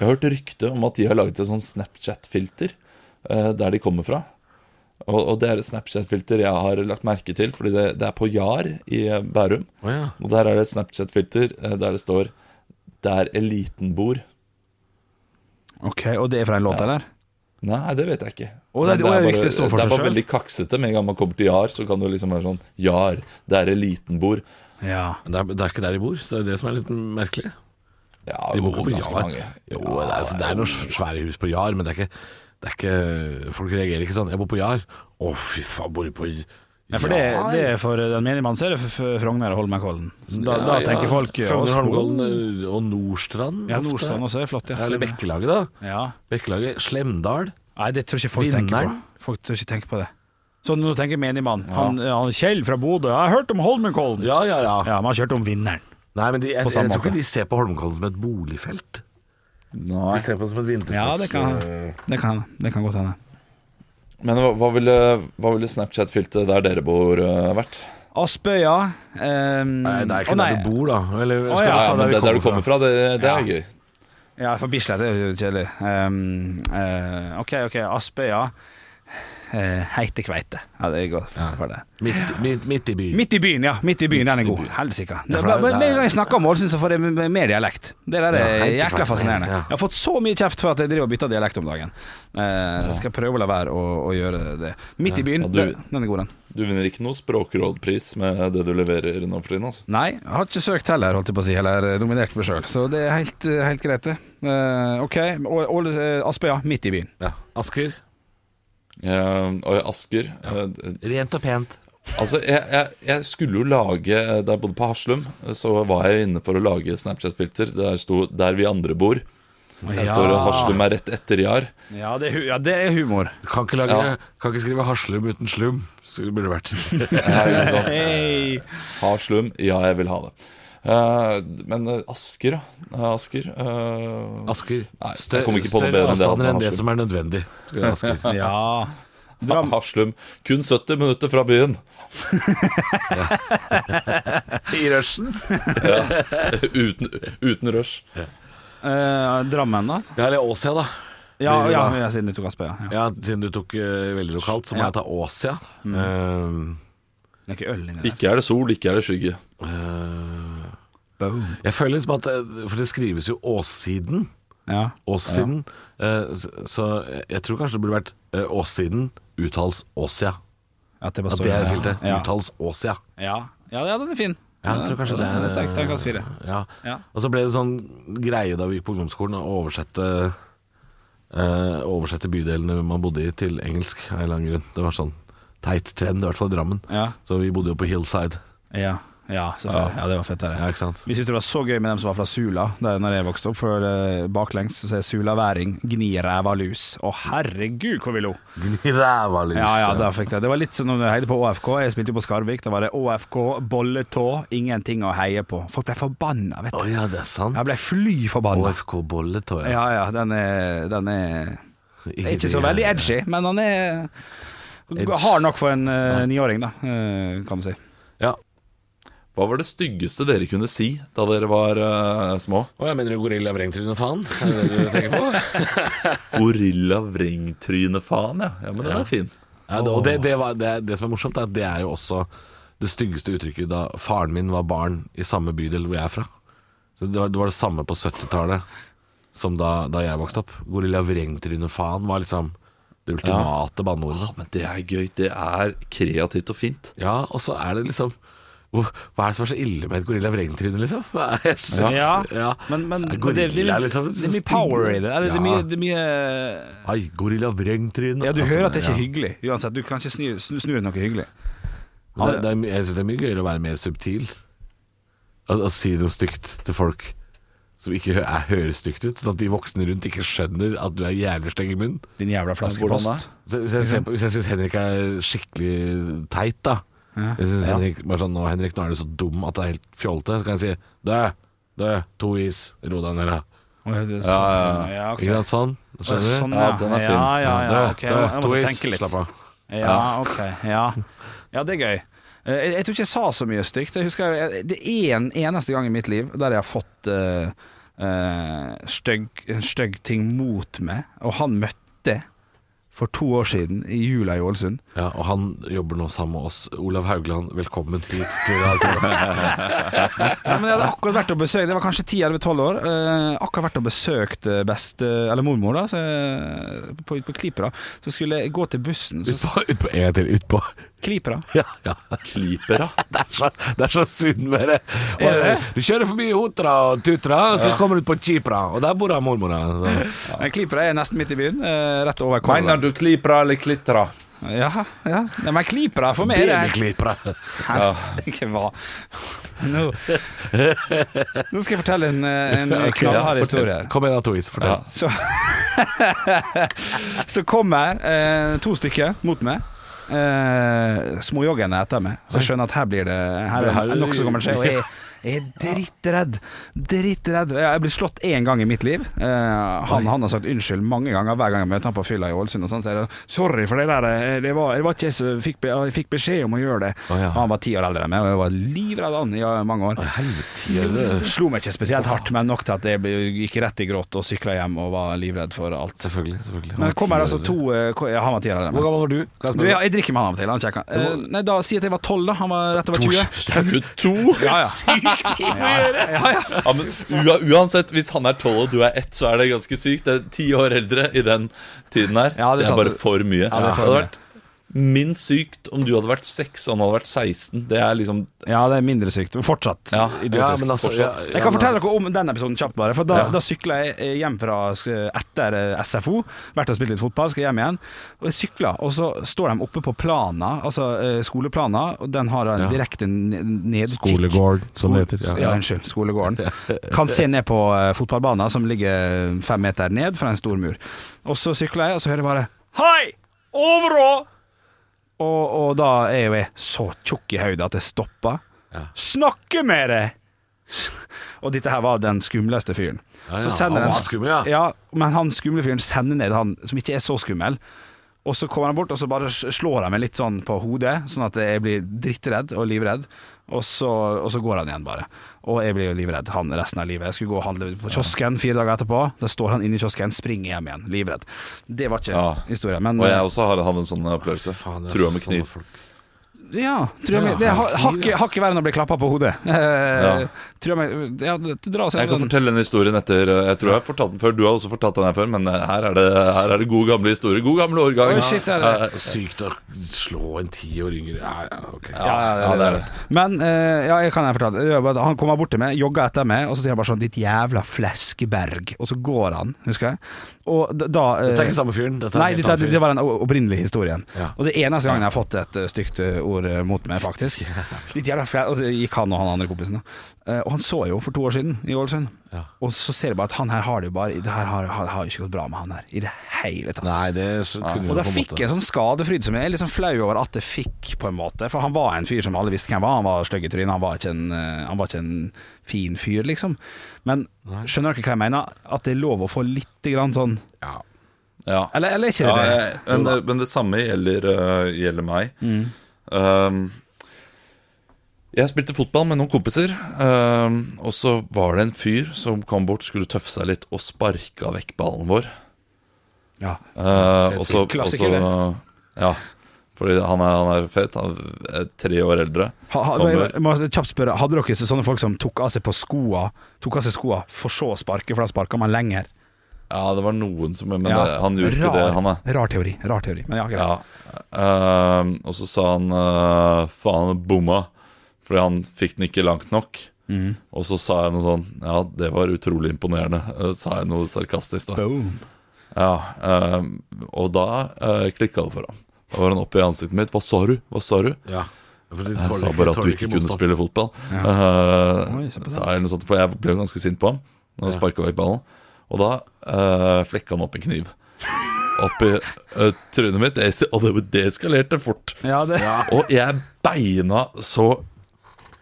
Speaker 5: Jeg har hørt rykte om at de har laget et sånt Snapchat-filter eh, der de kommer fra. Og, og det er et Snapchat-filter jeg har lagt merke til, fordi det, det er på Jar i Bærum.
Speaker 4: Å, ja.
Speaker 5: Og der er det et Snapchat-filter eh, der det står 'Der eliten bor'.
Speaker 3: Ok, Og det er fra en låt, eller?
Speaker 5: Nei, det vet jeg ikke.
Speaker 3: Å, det er-
Speaker 5: Men
Speaker 3: å, ja,
Speaker 5: bare-
Speaker 3: riktig, det står for
Speaker 5: det er
Speaker 3: seg
Speaker 5: bare
Speaker 3: selv.
Speaker 5: veldig kaksete. Med en gang man kommer til Jar, så kan det liksom være sånn Jar, der eliten bor.
Speaker 3: Ja.
Speaker 4: Men Det er, det er ikke der de bor, så det er det som er litt merkelig.
Speaker 5: Ja,
Speaker 4: De bor
Speaker 5: jo,
Speaker 4: ikke på
Speaker 5: ganske
Speaker 4: Jar.
Speaker 5: mange.
Speaker 4: Jo, det er, altså, det er noen svære hus på Jar, men det er ikke, det er ikke Folk reagerer ikke sånn. 'Jeg bor på Jar'. Å, fy faen, bor du på Jar?
Speaker 3: Ja, for det, det er for den menige mann, så er det for- for Frogner og Holmenkollen. Så Da,
Speaker 4: Ja,
Speaker 3: da
Speaker 4: ja.
Speaker 3: tenker folk ja,
Speaker 4: Frogner,
Speaker 3: oss to.
Speaker 4: Holmgolden og Nordstrand.
Speaker 3: Ja,
Speaker 4: ofte.
Speaker 3: Nordstrand også er flott, ja.
Speaker 4: Ja, Eller Bekkelaget, da.
Speaker 3: Ja.
Speaker 4: Bekkelaget, Slemdal.
Speaker 3: Nei, det tror jeg ikke folk tenker
Speaker 4: Vinneren?
Speaker 3: på. Folk tror ikke tenker på det. Så nå tenker menig mann. Han, han Kjell fra Bodø, jeg har hørt om Holmenkollen!
Speaker 4: Ja, ja, ja.
Speaker 3: Ja, men han kjørte om vinneren.
Speaker 4: Nei, men de, jeg,
Speaker 3: På
Speaker 4: jeg,
Speaker 3: samme
Speaker 4: tror ikke
Speaker 3: måte.
Speaker 4: de ser på Holmkollen som et boligfelt.
Speaker 5: Nei.
Speaker 4: De ser på det som et vinterfelt.
Speaker 3: Ja, det kan Det kan, det kan godt hende.
Speaker 5: Men hva, hva ville, hva ville Snapchat-filtet der dere bor, eh, vært?
Speaker 3: Aspøya ehm,
Speaker 4: Nei, det er ikke
Speaker 3: å, nei.
Speaker 4: der du bor, da. Eller skal
Speaker 3: Å,
Speaker 4: vi
Speaker 5: Ja,
Speaker 4: ta
Speaker 5: ja, men
Speaker 4: vi
Speaker 5: det der du kommer fra, det, det
Speaker 3: Ja.
Speaker 5: er gøy.
Speaker 3: Ja, for Bislett er jo kjedelig. Ehm, eh, OK, ok, Aspøya. Uh, Heite kveite. Ja, det går for det.
Speaker 4: Midt, midt, midt i byen.
Speaker 3: Midt i byen, ja. Midt i byen, den er god. Helsike.
Speaker 4: Ja,
Speaker 3: Bare-
Speaker 4: for det
Speaker 3: bare
Speaker 4: er-
Speaker 3: Med en gang jeg snakker om Ålesund, så får jeg mer dialekt. Det der er
Speaker 4: helt
Speaker 3: jækla
Speaker 4: klart.
Speaker 3: fascinerende.
Speaker 4: Ja.
Speaker 3: Jeg har fått så mye kjeft for at jeg driver og bytter dialekt om dagen. Eh, skal prøve å la være å, å gjøre det. Midt i byen,
Speaker 5: Ja, du-
Speaker 3: den- den er god, den.
Speaker 5: Du vinner ikke noe språkrådpris med det du leverer nå for tiden. Altså.
Speaker 3: Nei, jeg har ikke søkt heller, holdt jeg på å si, eller eh, nominert meg sjøl, så det er helt, helt greit, det. Eh, OK, Å- Åles- eh, Aspøya, midt i byen.
Speaker 4: Ja. Asker.
Speaker 5: Eh, og i Asker eh,
Speaker 4: Rent og pent.
Speaker 5: Altså, jeg, jeg, jeg skulle jo lage eh, Da jeg bodde på Haslum, eh, så var jeg inne for å lage Snapchat-filter. Der sto 'Der vi andre bor'. Eh, For Haslum er rett etter Jar.
Speaker 3: Ja, det er, hu- ja, det er humor.
Speaker 4: Kan ikke, lage,
Speaker 5: Ja.
Speaker 4: kan ikke skrive Haslum uten slum. Så det burde det vært
Speaker 5: Ja, ikke sant?
Speaker 3: Hey.
Speaker 5: Haslum, ja, jeg vil ha det. Eh, men eh, Asker, da. Eh, Asker. eh,
Speaker 4: Asker.
Speaker 5: Nei,
Speaker 4: Stør-
Speaker 5: jeg kom ikke på noe bedre enn det at
Speaker 4: avstander
Speaker 5: man
Speaker 4: enn det
Speaker 5: har
Speaker 4: som er nødvendig. Asker.
Speaker 3: Ja.
Speaker 5: Ha- Hafslum. Kun 70 minutter fra byen.
Speaker 4: I rushen.
Speaker 5: Uten, uten rush.
Speaker 3: Eh, Drammen, da?
Speaker 4: Ja, eller Åsia, da.
Speaker 3: Ja,
Speaker 4: Blir det
Speaker 3: ja,
Speaker 4: da?
Speaker 3: ja siden du tok Aspøya. Ja.
Speaker 4: Ja, Siden du tok eh, veldig lokalt, så må
Speaker 3: Ja. Mm.
Speaker 4: jeg ta Åsia.
Speaker 3: Det er ikke øl inni der.
Speaker 5: Ikke er det sol, ikke er det skygge.
Speaker 4: Eh, eh,
Speaker 3: Boom.
Speaker 4: jeg føler liksom at eh, For det skrives jo Åssiden.
Speaker 3: Ja.
Speaker 4: Åssiden. Eh, så, så jeg tror kanskje det burde vært eh, Åssiden uttales Åsia.
Speaker 3: At det bare
Speaker 4: At
Speaker 3: står
Speaker 4: det er
Speaker 3: der.
Speaker 4: filteret.
Speaker 3: Ja.
Speaker 4: Uttales Åsia.
Speaker 3: Ja. ja, ja, den er fin.
Speaker 4: Ja, jeg tror kanskje det
Speaker 3: Den er sterk. Terningkast fire.
Speaker 4: Ja.
Speaker 3: Ja.
Speaker 4: Og så ble det sånn greie da vi gikk på ungdomsskolen å oversette eh, Oversette bydelene man bodde i til engelsk av en eller annen grunn. Det var sånn teit trend, i hvert fall i Drammen.
Speaker 3: Ja.
Speaker 4: Så vi bodde jo på Hillside.
Speaker 3: Ja, ja, selvfølgelig. ja det var fett. Der,
Speaker 4: Ja, ikke sant?
Speaker 3: Vi syntes det var så gøy med dem som var fra Sula da når jeg vokste opp. For eh, baklengs så er Sula væring, gni ræva lus. Å herregud, hvor vi lo!
Speaker 4: Ræva lus.
Speaker 3: Ja, ja, da fikk jeg. Det var litt som når jeg heide på ÅFK. Jeg spilte jo på Skarvik. Da var det ÅFK, bolletå, ingenting å heie på. Folk ble forbanna, vet
Speaker 4: Å
Speaker 3: du.
Speaker 4: ja, det er sant.
Speaker 3: Jeg ble fly forbanna.
Speaker 4: OFK-bolle, tror jeg.
Speaker 3: Ja ja, den er, den er Ikke så veldig edgy, men han er
Speaker 4: Edge.
Speaker 3: hard nok for en eh, niåring, da, eh, kan du si.
Speaker 4: Ja.
Speaker 5: Hva var det styggeste dere kunne si da dere var eh, små?
Speaker 4: Å, jeg mener du gorilla vrengtryne, faen? Er det det du tenker på?
Speaker 5: Gorilla vrengtryne-faen, ja. ja. Men den er fin.
Speaker 4: Ja, det, og det, det, var, det, det som er morsomt, er at det er jo også det styggeste uttrykket da faren min var barn i samme bydel hvor jeg er fra. Så Det var det, var det samme på 70-tallet som da, da jeg vokste opp. Gorilla vrengtryne faen var liksom det ultimate banneordet.
Speaker 5: Ja, men det er gøy. Det er kreativt og fint.
Speaker 4: Ja, og så er det liksom hvor- hva er det som er så ille med et gorilla vrengtryne, liksom? Hva er det-
Speaker 3: Ja,
Speaker 4: ja.
Speaker 3: men, men
Speaker 4: Ja,
Speaker 3: det, det,
Speaker 4: gorilla
Speaker 3: er
Speaker 4: er
Speaker 3: litt-
Speaker 4: liksom
Speaker 3: det er
Speaker 4: så
Speaker 3: mye power
Speaker 4: stygg.
Speaker 3: i det. Eller, det, er mye, det er mye
Speaker 4: Ai, gorilla vrengtryne.
Speaker 3: Ja, du
Speaker 4: Altså,
Speaker 3: hører at det ikke
Speaker 4: ja.
Speaker 3: er hyggelig. Uansett, du kan ikke snu, snu, snu noe hyggelig.
Speaker 4: Men Det, det er, my- jeg syns det er mye gøyere å være mer subtil. Å, å si noe stygt til folk som ikke hø er, høres stygt ut. Sånn at de voksne rundt ikke skjønner at du er jævlig stygg i munnen.
Speaker 3: Din jævla
Speaker 5: Hvordan da?
Speaker 3: flaskepost.
Speaker 4: Så, hvis jeg, ser på- hvis jeg syns Henrik er skikkelig teit, da
Speaker 3: Ja.
Speaker 4: Jeg synes Henrik, bare sånn, nå, Henrik, nå er du så dum at det er helt fjolte. Så kan jeg si Dø, dø, to is, ro deg ned, da.
Speaker 3: Ja,
Speaker 5: ja,
Speaker 3: ja, ok.
Speaker 4: Ikke sant? Sånn. Skjønner du?
Speaker 3: Sånn,
Speaker 5: Ja, den er fin.
Speaker 3: Ja, ja, ja,
Speaker 4: Dø,
Speaker 3: ok.
Speaker 4: dø,
Speaker 3: Jeg må
Speaker 4: to is,
Speaker 3: tenke litt.
Speaker 4: slapp av.
Speaker 3: Ja, ok. Ja, ja det er gøy. Eh, Jeg, jeg tror ikke jeg sa så mye stygt. Jeg husker jeg, Det er en eneste gang i mitt liv der jeg har fått eh, eh, stygg, en stygg ting mot meg, og han møtte for to år siden, i jula i Ålesund.
Speaker 4: Ja, og han jobber nå sammen med oss. Olav Haugland, velkommen hit til Radio
Speaker 3: Ja, men jeg hadde akkurat vært og besøkt Det var kanskje 10-11-12 år eh, Akkurat vært og besøkt eh, best eh, Eller mormor da så, jeg- på, på Klipera Så skulle jeg gå til bussen så,
Speaker 4: Utpå, utpå, en gang til, utpå.
Speaker 3: Klipera
Speaker 4: Ja, ja.
Speaker 5: Klipera.
Speaker 4: Det er så, det er så sunnmøre. Og, eh,
Speaker 3: Er det?
Speaker 4: Du kjører forbi Otra og Tutra, og så kommer du ut på Kipra, og der bor mormora.
Speaker 3: Men Klipera er nesten midt i byen eh, Rett over
Speaker 5: Mener
Speaker 3: Kolva
Speaker 5: du klipra eller klitra?
Speaker 3: Ja, ja Nei, men Klipera for meg er det
Speaker 4: Babyklippera.
Speaker 3: Ikke hva Nå Nå skal jeg fortelle en, eh, en
Speaker 5: ja,
Speaker 3: knallhard
Speaker 5: fortell.
Speaker 3: historie her
Speaker 4: Kom igjen, da, Tois. Fortell.
Speaker 3: Så, så kommer eh, to stykker mot meg. Eh, Småjoggende etter meg. Så jeg skjønner at her blir det Her
Speaker 4: Det
Speaker 3: er
Speaker 4: her
Speaker 3: det
Speaker 4: er-
Speaker 3: nokså gammel skje. Og jeg, jeg er drittredd. Drittredd. Jeg er blitt slått én gang i mitt liv. Eh, han, han har sagt unnskyld mange ganger hver gang jeg møter han på fylla i Ålesund. Og sånn, så er det 'sorry for det der, eh, det var, det var ikke jeg som fikk, be- jeg fikk beskjed om å gjøre det'.
Speaker 4: Å, ja.
Speaker 3: Og Han var ti år eldre enn meg, og jeg var livredd han i eh, mange år.
Speaker 4: Helvete.
Speaker 3: Slo meg ikke spesielt hardt, men nok til at jeg ble- gikk rett i gråt og sykla hjem og var livredd for alt.
Speaker 4: Selvfølgelig. selvfølgelig.
Speaker 3: Men det kommer altså to eh, ko- ja, Han var ti år
Speaker 4: Hvor
Speaker 3: eldre.
Speaker 4: gammel var du? Kan jeg
Speaker 3: Du,
Speaker 4: spørre?
Speaker 3: ja, jeg drikker med han av og til. Han kjekker. Eh, nei, da si at jeg var tolv, da. Han var rett over 20.
Speaker 5: To?
Speaker 3: Ja, ja.
Speaker 5: Ja, men ua- uansett, hvis han er tolv og du er ett, så er det ganske sykt. Det er ti år eldre i den tiden her.
Speaker 3: Ja, det er
Speaker 5: det, er
Speaker 3: sant.
Speaker 5: bare for mye.
Speaker 3: det er for
Speaker 5: hadde
Speaker 3: mye.
Speaker 5: vært minst sykt om du hadde vært seks og han hadde vært 16. Det er liksom
Speaker 3: Ja, det er mindre sykt. Men fortsatt
Speaker 5: Ja.
Speaker 4: ja,
Speaker 3: idiotisk.
Speaker 4: men altså, ja, ja,
Speaker 3: Jeg kan
Speaker 4: men
Speaker 3: fortelle dere om den episoden kjapt, bare. For da, da sykla jeg eh, hjem fra sk- etter eh, SFO. Vært og spilt litt fotball, skal hjem igjen. Og jeg sykla, og så står de oppe på plana, altså eh, skoleplana, og den har en
Speaker 4: Ja.
Speaker 3: direkte n- nedkikk.
Speaker 4: Skolegård, som det heter.
Speaker 3: Ja,
Speaker 4: Ja.
Speaker 3: unnskyld. Skolegården. Kan se ned på eh, fotballbanen, som ligger eh, fem meter ned fra en stor mur. Og så sykler jeg, og så hører jeg bare Hei! Overå! Og, og da er jo jeg så tjukk i hodet at jeg stopper. Snakke med deg! Og dette her var den skumleste fyren.
Speaker 4: Ja, ja,
Speaker 3: Så sender
Speaker 4: han
Speaker 3: den-
Speaker 4: var skummel, ja.
Speaker 3: Men han skumle fyren sender ned han som ikke er så skummel. Og så kommer han bort og så bare s- slår han meg litt sånn på hodet, sånn at jeg blir drittredd og livredd. Og så, og så går han igjen, bare. Og jeg blir jo livredd han resten av livet. Jeg skulle gå og handle på kiosken fire dager etterpå. Der står han inne i kiosken, springer hjem igjen, livredd. Det var ikke
Speaker 5: Ja.
Speaker 3: historien. Men
Speaker 5: Og jeg også har hatt en sånn opplevelse.
Speaker 4: Faen, det er
Speaker 5: Trua med
Speaker 3: sånn
Speaker 4: sånne
Speaker 5: kniv.
Speaker 4: folk.
Speaker 3: eh, Ja, tror jeg, det er ha- hakket hakket verre enn å bli klappa på hodet. Eh,
Speaker 5: Ja.
Speaker 3: Tror jeg, ja, dra oss
Speaker 5: Jeg kan
Speaker 3: gjennom den.
Speaker 5: fortelle den historien etter eh, Jeg tror jeg har fortalt den før. Du har også fortalt den her før, men eh, her er det, her er det gode gamle historier. God gamle årgang.
Speaker 3: Oi, shit, er det-
Speaker 5: Eh,
Speaker 4: Sykt å slå en ti år yngre Ja, ja, ok.
Speaker 5: Ja, ja, det er det.
Speaker 3: Men eh, ja, jeg kan jeg fortelle Det var bare at Han kommer bort til meg, jogger etter meg, og så sier han bare sånn 'Ditt jævla fleskeberg', og så går han, husker jeg. Og da, da eh,
Speaker 4: Dette er ikke samme fyren. Dette er
Speaker 3: Nei,
Speaker 4: en helt
Speaker 3: dette,
Speaker 5: sånn
Speaker 4: annen
Speaker 3: det var den o- opprinnelige historien.
Speaker 4: Ja.
Speaker 3: Og det eneste gangen jeg har fått et eh, stygt eh, ord eh, mot meg, faktisk. Litt jævla flau. Og så gikk han og han andre kompisen, da. Eh, Og han så jeg jo for to år siden i Ålesund.
Speaker 4: Ja.
Speaker 3: Og så ser jeg bare at han her har det jo bare Det her har, har, har jo ikke gått bra med han her i det hele tatt.
Speaker 4: Nei, det så kunne
Speaker 3: Og
Speaker 4: du
Speaker 3: da
Speaker 4: på en
Speaker 3: fikk
Speaker 4: måte
Speaker 3: jeg sånn skadefryd som jeg er litt sånn flau over at jeg fikk, på en måte. For han var en fyr som alle visste hvem var. Han var stygg i trynet, han, var ikke en, eh, han var ikke en fin fyr, liksom. Men skjønner dere hva jeg mener? At det er lov å få litt grann sånn
Speaker 4: ja.
Speaker 5: Ja.
Speaker 3: Eller, eller er ikke
Speaker 5: Ja,
Speaker 3: det det?
Speaker 5: jeg, men, det- men det samme gjelder, øh, gjelder meg.
Speaker 3: Mm.
Speaker 5: Um, jeg spilte fotball med noen kompiser, um, og så var det en fyr som kom bort, skulle tøffe seg litt og sparka vekk ballen vår.
Speaker 3: Ja.
Speaker 5: Uh, og så, og
Speaker 3: Klassiker, det.
Speaker 5: så, ja, fordi han er, han er fet. Han er tre år eldre.
Speaker 3: Ha, ha,
Speaker 5: Kommer.
Speaker 3: jeg må kjapt spørre, Hadde dere så- sånne folk som tok av seg på skoa Tok av seg skoa for så å sparke, for da sparka man lenger?
Speaker 5: Ja, det var noen som Men
Speaker 3: Ja.
Speaker 5: det, han gjorde ikke det, han, da.
Speaker 3: rar teori. rar teori Men ja, greit.
Speaker 5: Ja. Ehm, og så sa han eh, faen, han bomma, fordi han fikk den ikke langt nok. Og så sa jeg noe sånn Ja, det var utrolig imponerende, eh, sa jeg noe sarkastisk da.
Speaker 3: Boom.
Speaker 5: Ja, ehm, og da uh, klikka det for ham. Da var han oppe i ansiktet mitt. Hva sa du? Hva sa du?
Speaker 4: ja. For de
Speaker 5: Jeg
Speaker 4: tåler
Speaker 5: sa
Speaker 4: ikke-
Speaker 5: bare at
Speaker 4: tåler
Speaker 5: du ikke kunne
Speaker 4: motstand.
Speaker 5: spille fotball. Eh,
Speaker 3: Oi, se på det.
Speaker 5: sa jeg eller noe sånt, For jeg ble jo ganske sint på ham når han
Speaker 4: Ja.
Speaker 5: sparka vekk ballen. Og da eh, flekka han opp en kniv. Opp i eh, trynet mitt, Jeg- og det, det eskalerte fort.
Speaker 3: Ja, det
Speaker 5: Og jeg beina så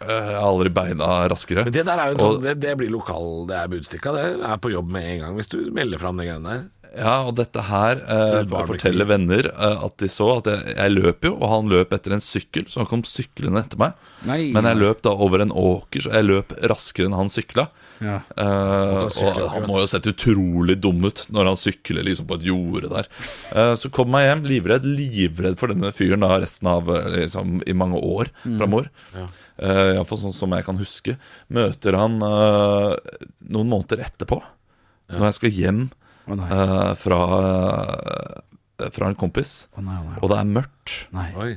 Speaker 5: eh, Jeg har aldri beina raskere.
Speaker 4: Men det der er jo en
Speaker 5: Og-
Speaker 4: sånn det, det blir lokal Det er budstikka. Det er på jobb med en gang hvis du melder fram de greiene der.
Speaker 5: Ja, og dette her eh,
Speaker 4: det var
Speaker 5: forteller venner eh, at de så at jeg, jeg løp jo, og han løp etter en sykkel, så han kom syklende etter meg.
Speaker 3: Nei.
Speaker 5: Men jeg løp da over en åker, så jeg løp raskere enn han sykla.
Speaker 3: Ja.
Speaker 5: Eh, og han må jo ha sett utrolig dum ut når han sykler liksom på et jorde der. Eh, så kom jeg hjem livredd, livredd for denne fyren da resten av eh, liksom, i mange år framover. Eh, Iallfall sånn som jeg kan huske. Møter han eh, noen måneder etterpå, når jeg skal hjem
Speaker 3: Å nei. Å
Speaker 5: eh, fra, eh, fra en kompis,
Speaker 3: nei, å nei.
Speaker 5: og det er mørkt,
Speaker 3: nei.
Speaker 4: Oi.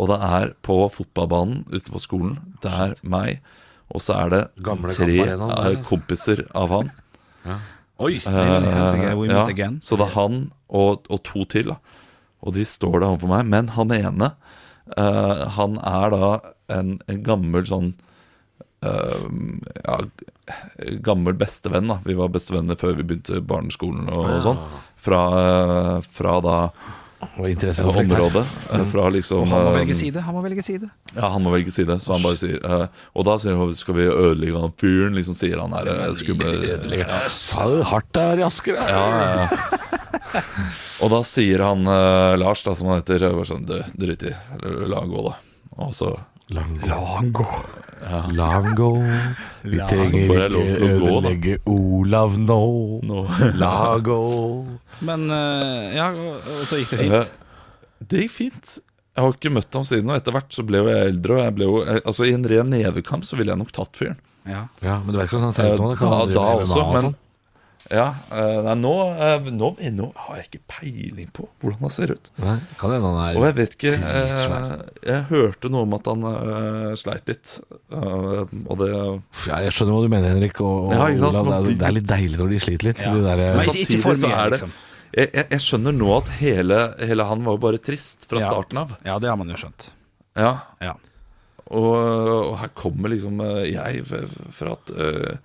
Speaker 5: og det er på fotballbanen utenfor skolen. Det er meg, og så er det
Speaker 4: Gamle
Speaker 5: tre
Speaker 4: kamparenaen der,
Speaker 5: eh,
Speaker 4: ja.
Speaker 5: kompiser av han.
Speaker 4: Oi.
Speaker 3: Really hands again, we
Speaker 5: Eh,
Speaker 3: meet again.
Speaker 5: Så det er han og, og to til, da. Og de står der overfor meg. Men han ene, eh, han er da en, en gammel sånn eh, ja, gammel bestevenn, da. Vi var bestevenner før vi begynte barneskolen og, og sånn. Fra, eh, fra da
Speaker 4: Og interessekonflikt her.
Speaker 5: området. eh, Fra liksom
Speaker 3: Mm. Han må
Speaker 4: Um,
Speaker 5: eh,
Speaker 3: velge side. Han må velge side.
Speaker 5: ja, han må velge side, så han bare sier eh, Og da sier han skal vi ødelegge han fyren, liksom sier han her eh, skumle
Speaker 4: Ødelegger. Faen, det er hardt der i Asker. da.
Speaker 5: Og da sier han eh, Lars, da, som han heter, bare sånn «Du, Drit i, eller la han gå, da. Og så
Speaker 4: Lango.
Speaker 3: La han gå.
Speaker 4: Lango. Vi
Speaker 5: Så får jeg lov til å gå, da.
Speaker 4: Olav nå. Lago.
Speaker 3: Men eh, ja, og og så gikk det fint.
Speaker 5: Eh, Det gikk fint. Jeg har ikke møtt ham siden, og etter hvert så ble jo jeg eldre. Og jeg ble jo, eh, altså I en ren nevekamp så ville jeg nok tatt fyren.
Speaker 3: Ja.
Speaker 4: Ja, men du vet ikke hvordan han
Speaker 5: Eh,
Speaker 4: ser ut nå? det kan
Speaker 5: da,
Speaker 4: han drive
Speaker 5: da
Speaker 4: med MMA
Speaker 5: også,
Speaker 4: og
Speaker 5: men
Speaker 4: sånn.
Speaker 5: ja, eh, nei, nå, eh, nå, nå har jeg ikke peiling på hvordan han ser ut.
Speaker 4: Nei, kan hende han
Speaker 5: Og
Speaker 4: er
Speaker 5: jeg vet ikke eh,
Speaker 4: Svær.
Speaker 5: Jeg hørte noe om at han eh, sleit litt. eh, og det
Speaker 4: Uff, ja, Jeg skjønner hva du mener, Henrik. Og, og
Speaker 5: Ja, ikke sant,
Speaker 4: Olav, det,
Speaker 5: man
Speaker 4: er,
Speaker 5: blir
Speaker 4: det er
Speaker 5: litt-
Speaker 4: litt deilig når de sliter litt. De der,
Speaker 3: Men
Speaker 5: Samtidig
Speaker 3: ikke for
Speaker 5: så
Speaker 3: mye,
Speaker 5: er det-
Speaker 3: liksom.
Speaker 5: jeg, jeg, jeg skjønner nå at hele, hele han var jo bare trist fra
Speaker 3: Ja.
Speaker 5: starten av.
Speaker 3: ja, det har man jo skjønt.
Speaker 5: Ja,
Speaker 3: Ja.
Speaker 5: og, og her kommer liksom eh, jeg f- fra et eh,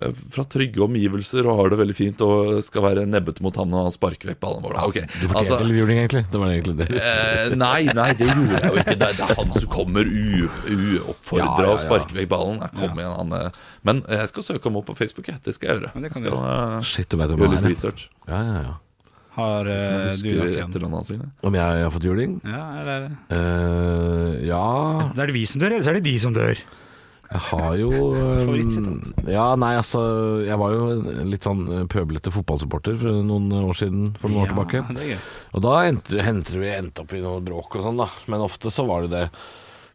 Speaker 5: eh, fra trygge omgivelser og har det veldig fint og skal være nebbete mot ham når han sparker vekk ballen vår. da. Ok,
Speaker 4: Du fortjente
Speaker 5: altså,
Speaker 4: litt juling, egentlig. Det var det egentlig det.
Speaker 5: eh, nei, nei, det gjorde jeg jo ikke. Det, er- det er han som kommer u- uoppfordra
Speaker 4: Ja, ja, ja.
Speaker 5: og sparker vekk ballen. Jeg kom igjen, han, eh. Men jeg skal søke ham opp på Facebook, jeg. det skal jeg gjøre.
Speaker 3: Ja, det kan
Speaker 5: jeg
Speaker 3: du
Speaker 5: skal eh,
Speaker 4: Shit, du vet hvem
Speaker 5: gjøre
Speaker 4: han
Speaker 5: litt
Speaker 4: er.
Speaker 5: research.
Speaker 4: Ja, ja, ja.
Speaker 3: Har eh, du
Speaker 5: Jeg
Speaker 3: lagt
Speaker 5: husker
Speaker 3: igjen?
Speaker 5: etternavnene sine.
Speaker 4: Om jeg har fått juling?
Speaker 3: Ja, eller
Speaker 4: Eh, ja
Speaker 3: Da er det vi som dør, eller så er det de som dør?
Speaker 4: Jeg har jo um, Ja, nei, altså Jeg var jo en litt sånn eh, pøblete fotballsupporter for noen eh, år siden, for noen år tilbake.
Speaker 3: Ja, det er gøy.
Speaker 4: Og da endte, endte vi endte opp i noe bråk og sånn, da. Men ofte så var det det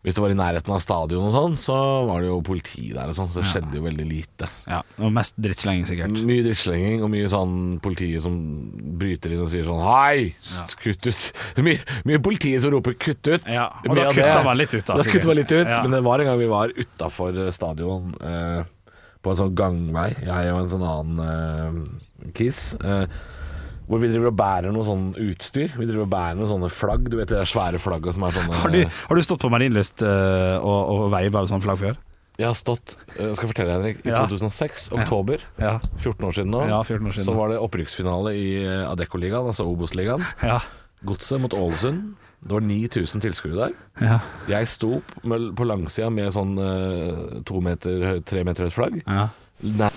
Speaker 4: Hvis det var i nærheten av stadion og sånn, så var det jo politi der og sånn, så det skjedde jo veldig lite.
Speaker 3: Ja, og mest drittslenging, sikkert.
Speaker 4: Mye drittslenging og mye sånn politiet som bryter inn og sier sånn Hei, kutt ut. Mye, mye politiet som roper 'kutt ut'.
Speaker 3: Ja, og
Speaker 4: Mye
Speaker 3: da
Speaker 4: av
Speaker 3: kutta
Speaker 4: det.
Speaker 3: man litt ut, da,
Speaker 4: Da
Speaker 3: sikkert.
Speaker 4: kutta man litt ut,
Speaker 3: Ja.
Speaker 4: Men det var en gang vi var utafor stadion eh, på en sånn gangvei, jeg og en sånn annen eh, kis. Eh, hvor vi driver og bærer noe sånn utstyr. Vi driver og bærer noen sånne flagg. Du vet de der svære flagga som er sånne
Speaker 3: Har du, har du stått på Marienlyst eh, og, og veiva sånn flagg før?
Speaker 4: Jeg har stått eh, Skal jeg fortelle deg, Henrik. I
Speaker 3: Ja.
Speaker 4: 2006, oktober.
Speaker 3: Ja.
Speaker 4: 14 år siden nå,
Speaker 3: Ja, 14 år siden
Speaker 4: så
Speaker 3: nå.
Speaker 4: var det opprykksfinale i eh, Adeccoligaen, altså Obos-ligaen.
Speaker 3: Ja.
Speaker 4: Godset mot Ålesund. Det var 9000 tilskuere der.
Speaker 3: ja.
Speaker 4: Jeg sto opp med, på langsida med sånn eh, to meter, høy- tre meter høyt flagg.
Speaker 3: ja.
Speaker 4: Nei,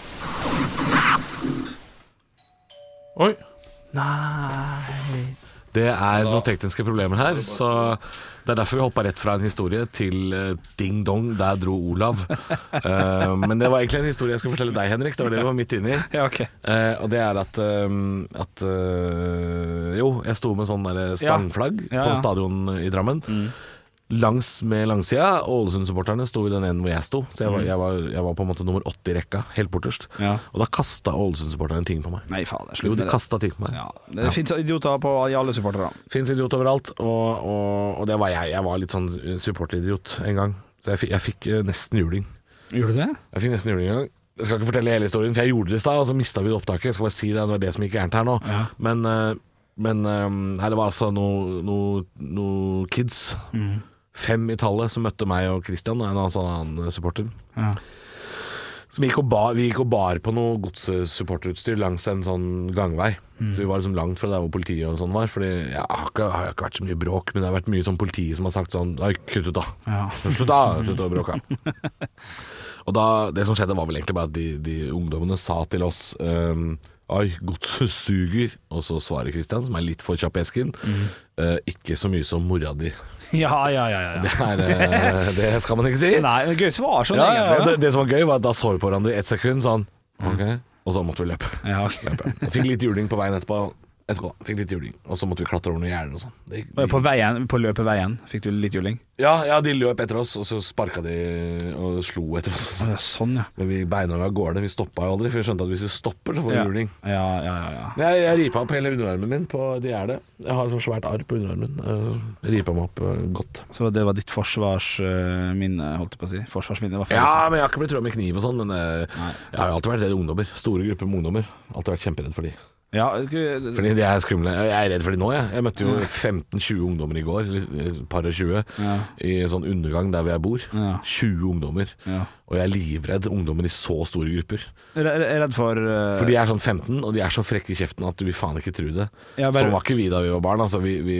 Speaker 5: Oi,
Speaker 4: det er noen tekniske problemer her, så det er derfor vi hoppa rett fra en historie til eh, ding dong, der dro Olav. Eh, men det var egentlig en historie jeg skulle fortelle deg, Henrik. Det var det vi var midt inne i.
Speaker 3: ja, ok.
Speaker 4: Eh, og det er at, ehm, at eh, Jo, jeg sto med sånn der stangflagg
Speaker 3: Ja, ja. Mm.
Speaker 4: på stadion i Drammen. Langs med langsida. Ålesund-supporterne sto i den enden hvor jeg sto. Så jeg var, jeg var, jeg var på en måte nummer 80 i rekka, helt borterst.
Speaker 3: Mm. Ja.
Speaker 4: Og da kasta Ålesund-supporterne ting på meg.
Speaker 3: Nei, faen, det er
Speaker 4: Jo,
Speaker 3: slutt
Speaker 4: de
Speaker 3: med det.
Speaker 4: kasta ting på meg.
Speaker 3: Ja. Det fins idioter på, i alle supportere.
Speaker 4: Fins idiot overalt, og, og, og det var jeg. Jeg var litt sånn supporteridiot en gang. Så jeg fikk, jeg fikk eh, nesten juling.
Speaker 3: Gjorde du det?
Speaker 4: Jeg fikk nesten juling en gang. Jeg skal ikke fortelle hele historien, for jeg gjorde det i stad, og så mista vi det opptaket. Jeg skal bare si Det det var det som gikk gærent her nå. Men, eh, men eh, nei, det var altså noen no, no kids, fem i tallet, som møtte meg og Christian, en annen sånn annen supporter.
Speaker 3: Ja.
Speaker 4: Som gikk og bar, vi gikk og bar på noe godssupporterutstyr langs en sånn gangvei. Så vi var liksom langt fra der hvor politiet og sånn var. Fordi jeg har ikke, har ikke vært så mye bråk, men det har vært mye sånn politi som har sagt sånn Nei, kutt ut, da.
Speaker 3: Ja.
Speaker 4: Slutt, da. Slutt å bråke. Og da, det som skjedde var vel egentlig bare at de, de ungdommene sa til oss ehm, Oi, godset suger. Og så svarer Kristian, som er litt for kjapp i esken, «Eh, ikke så mye som mora di.
Speaker 3: Ja, ja, ja. ja,
Speaker 4: Det,
Speaker 3: ja.
Speaker 4: er, eh, det skal man ikke si.
Speaker 3: Nei, men gøy svar sånn,
Speaker 4: Ja, ja, ja. Det,
Speaker 3: egentlig.
Speaker 4: det som var gøy, var at da så vi på hverandre i ett sekund, sånn Ok. Og så måtte vi løpe.
Speaker 3: da. Ja, ok.
Speaker 4: Jeg fikk litt juling på veien etterpå. etterpå. Fikk litt juling Og så måtte vi klatre over noen gjerder og sånn. Det gikk-
Speaker 3: På, veien, på løpeveien fikk du litt juling?
Speaker 4: Ja, ja, de løp etter oss, og så sparka de og slo etter oss.
Speaker 3: Å, ja, Sånn, ja.
Speaker 4: Men vi beina av gårde. Vi stoppa jo aldri, for vi skjønte at hvis vi stopper, så får vi
Speaker 3: Ja,
Speaker 4: juling.
Speaker 3: ja, ja. ja, ja.
Speaker 4: Jeg, jeg ripa opp hele underarmen min på de er det. Jeg har et sånt svært arr på underarmen. Jeg ripa meg opp eh, godt.
Speaker 3: Så det var ditt forsvarsminne, holdt jeg på å si. Forsvarsminne var feil. å si.
Speaker 4: Ja, men jeg har ikke blitt trua med kniv og sånn, men eh, jeg har jo alltid vært redd ungdommer. Store grupper med ungdommer. Alltid vært kjemperedd for de.
Speaker 3: Ja, gu-
Speaker 4: Fordi de er skumle. Jeg er redd for de nå, jeg. Jeg møtte jo 15-20 ungdommer i går, eller et par og 20,
Speaker 3: Ja.
Speaker 4: i sånn undergang der hvor jeg bor.
Speaker 3: Ja.
Speaker 4: 20 ungdommer.
Speaker 3: Ja.
Speaker 4: Og jeg er livredd ungdommer i så store grupper.
Speaker 3: Jeg er jeg er redd for eh,
Speaker 4: For de er sånn 15, og de er så frekke i kjeften at du vil faen ikke tro det.
Speaker 3: Ja, bare-
Speaker 4: Sånn var ikke vi da vi var barn. Altså, vi vi,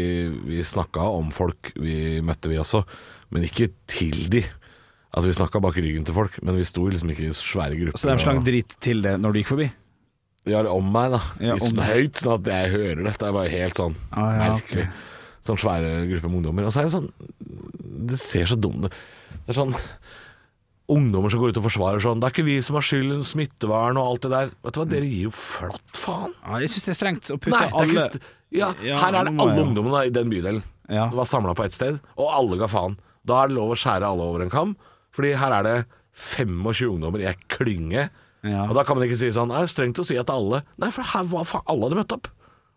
Speaker 4: vi snakka om folk vi møtte, vi også, men ikke til de. Altså, vi snakka bak ryggen til folk, men vi sto liksom ikke i
Speaker 3: Altså,
Speaker 4: svære grupper.
Speaker 3: Så de slang
Speaker 4: og-
Speaker 3: drit til det når du gikk forbi?
Speaker 4: Ja, om meg, da.
Speaker 3: Ja,
Speaker 4: I
Speaker 3: om
Speaker 4: sånn
Speaker 3: deg.
Speaker 4: høyt, sånn at jeg hører det. Det er bare helt sånn
Speaker 3: Ah, ja,
Speaker 4: merkelig. Sånn svære grupper med ungdommer. Og så er det sånn Det ser så dumt ut. Det er sånn Ungdommer som går ut og forsvarer sånn 'Det er ikke vi som har skylden, smittevern og alt det der'. Vet du hva, dere gir jo flatt faen.
Speaker 3: Ja, jeg syns det er strengt å putte
Speaker 4: Nei, det er
Speaker 3: alle
Speaker 4: ikke st- ja,
Speaker 3: Ja,
Speaker 4: her er det
Speaker 3: nå må
Speaker 4: alle
Speaker 3: jeg-
Speaker 4: ungdommene i den bydelen.
Speaker 3: Ja.
Speaker 4: Det var samla på ett sted, og alle ga faen. Da er det lov å skjære alle over en kam, Fordi her er det 25 ungdommer i ei klynge.
Speaker 3: Ja.
Speaker 4: Og da kan man ikke si sånn Det er strengt å si at alle Nei, for her var faen alle hadde møtt opp.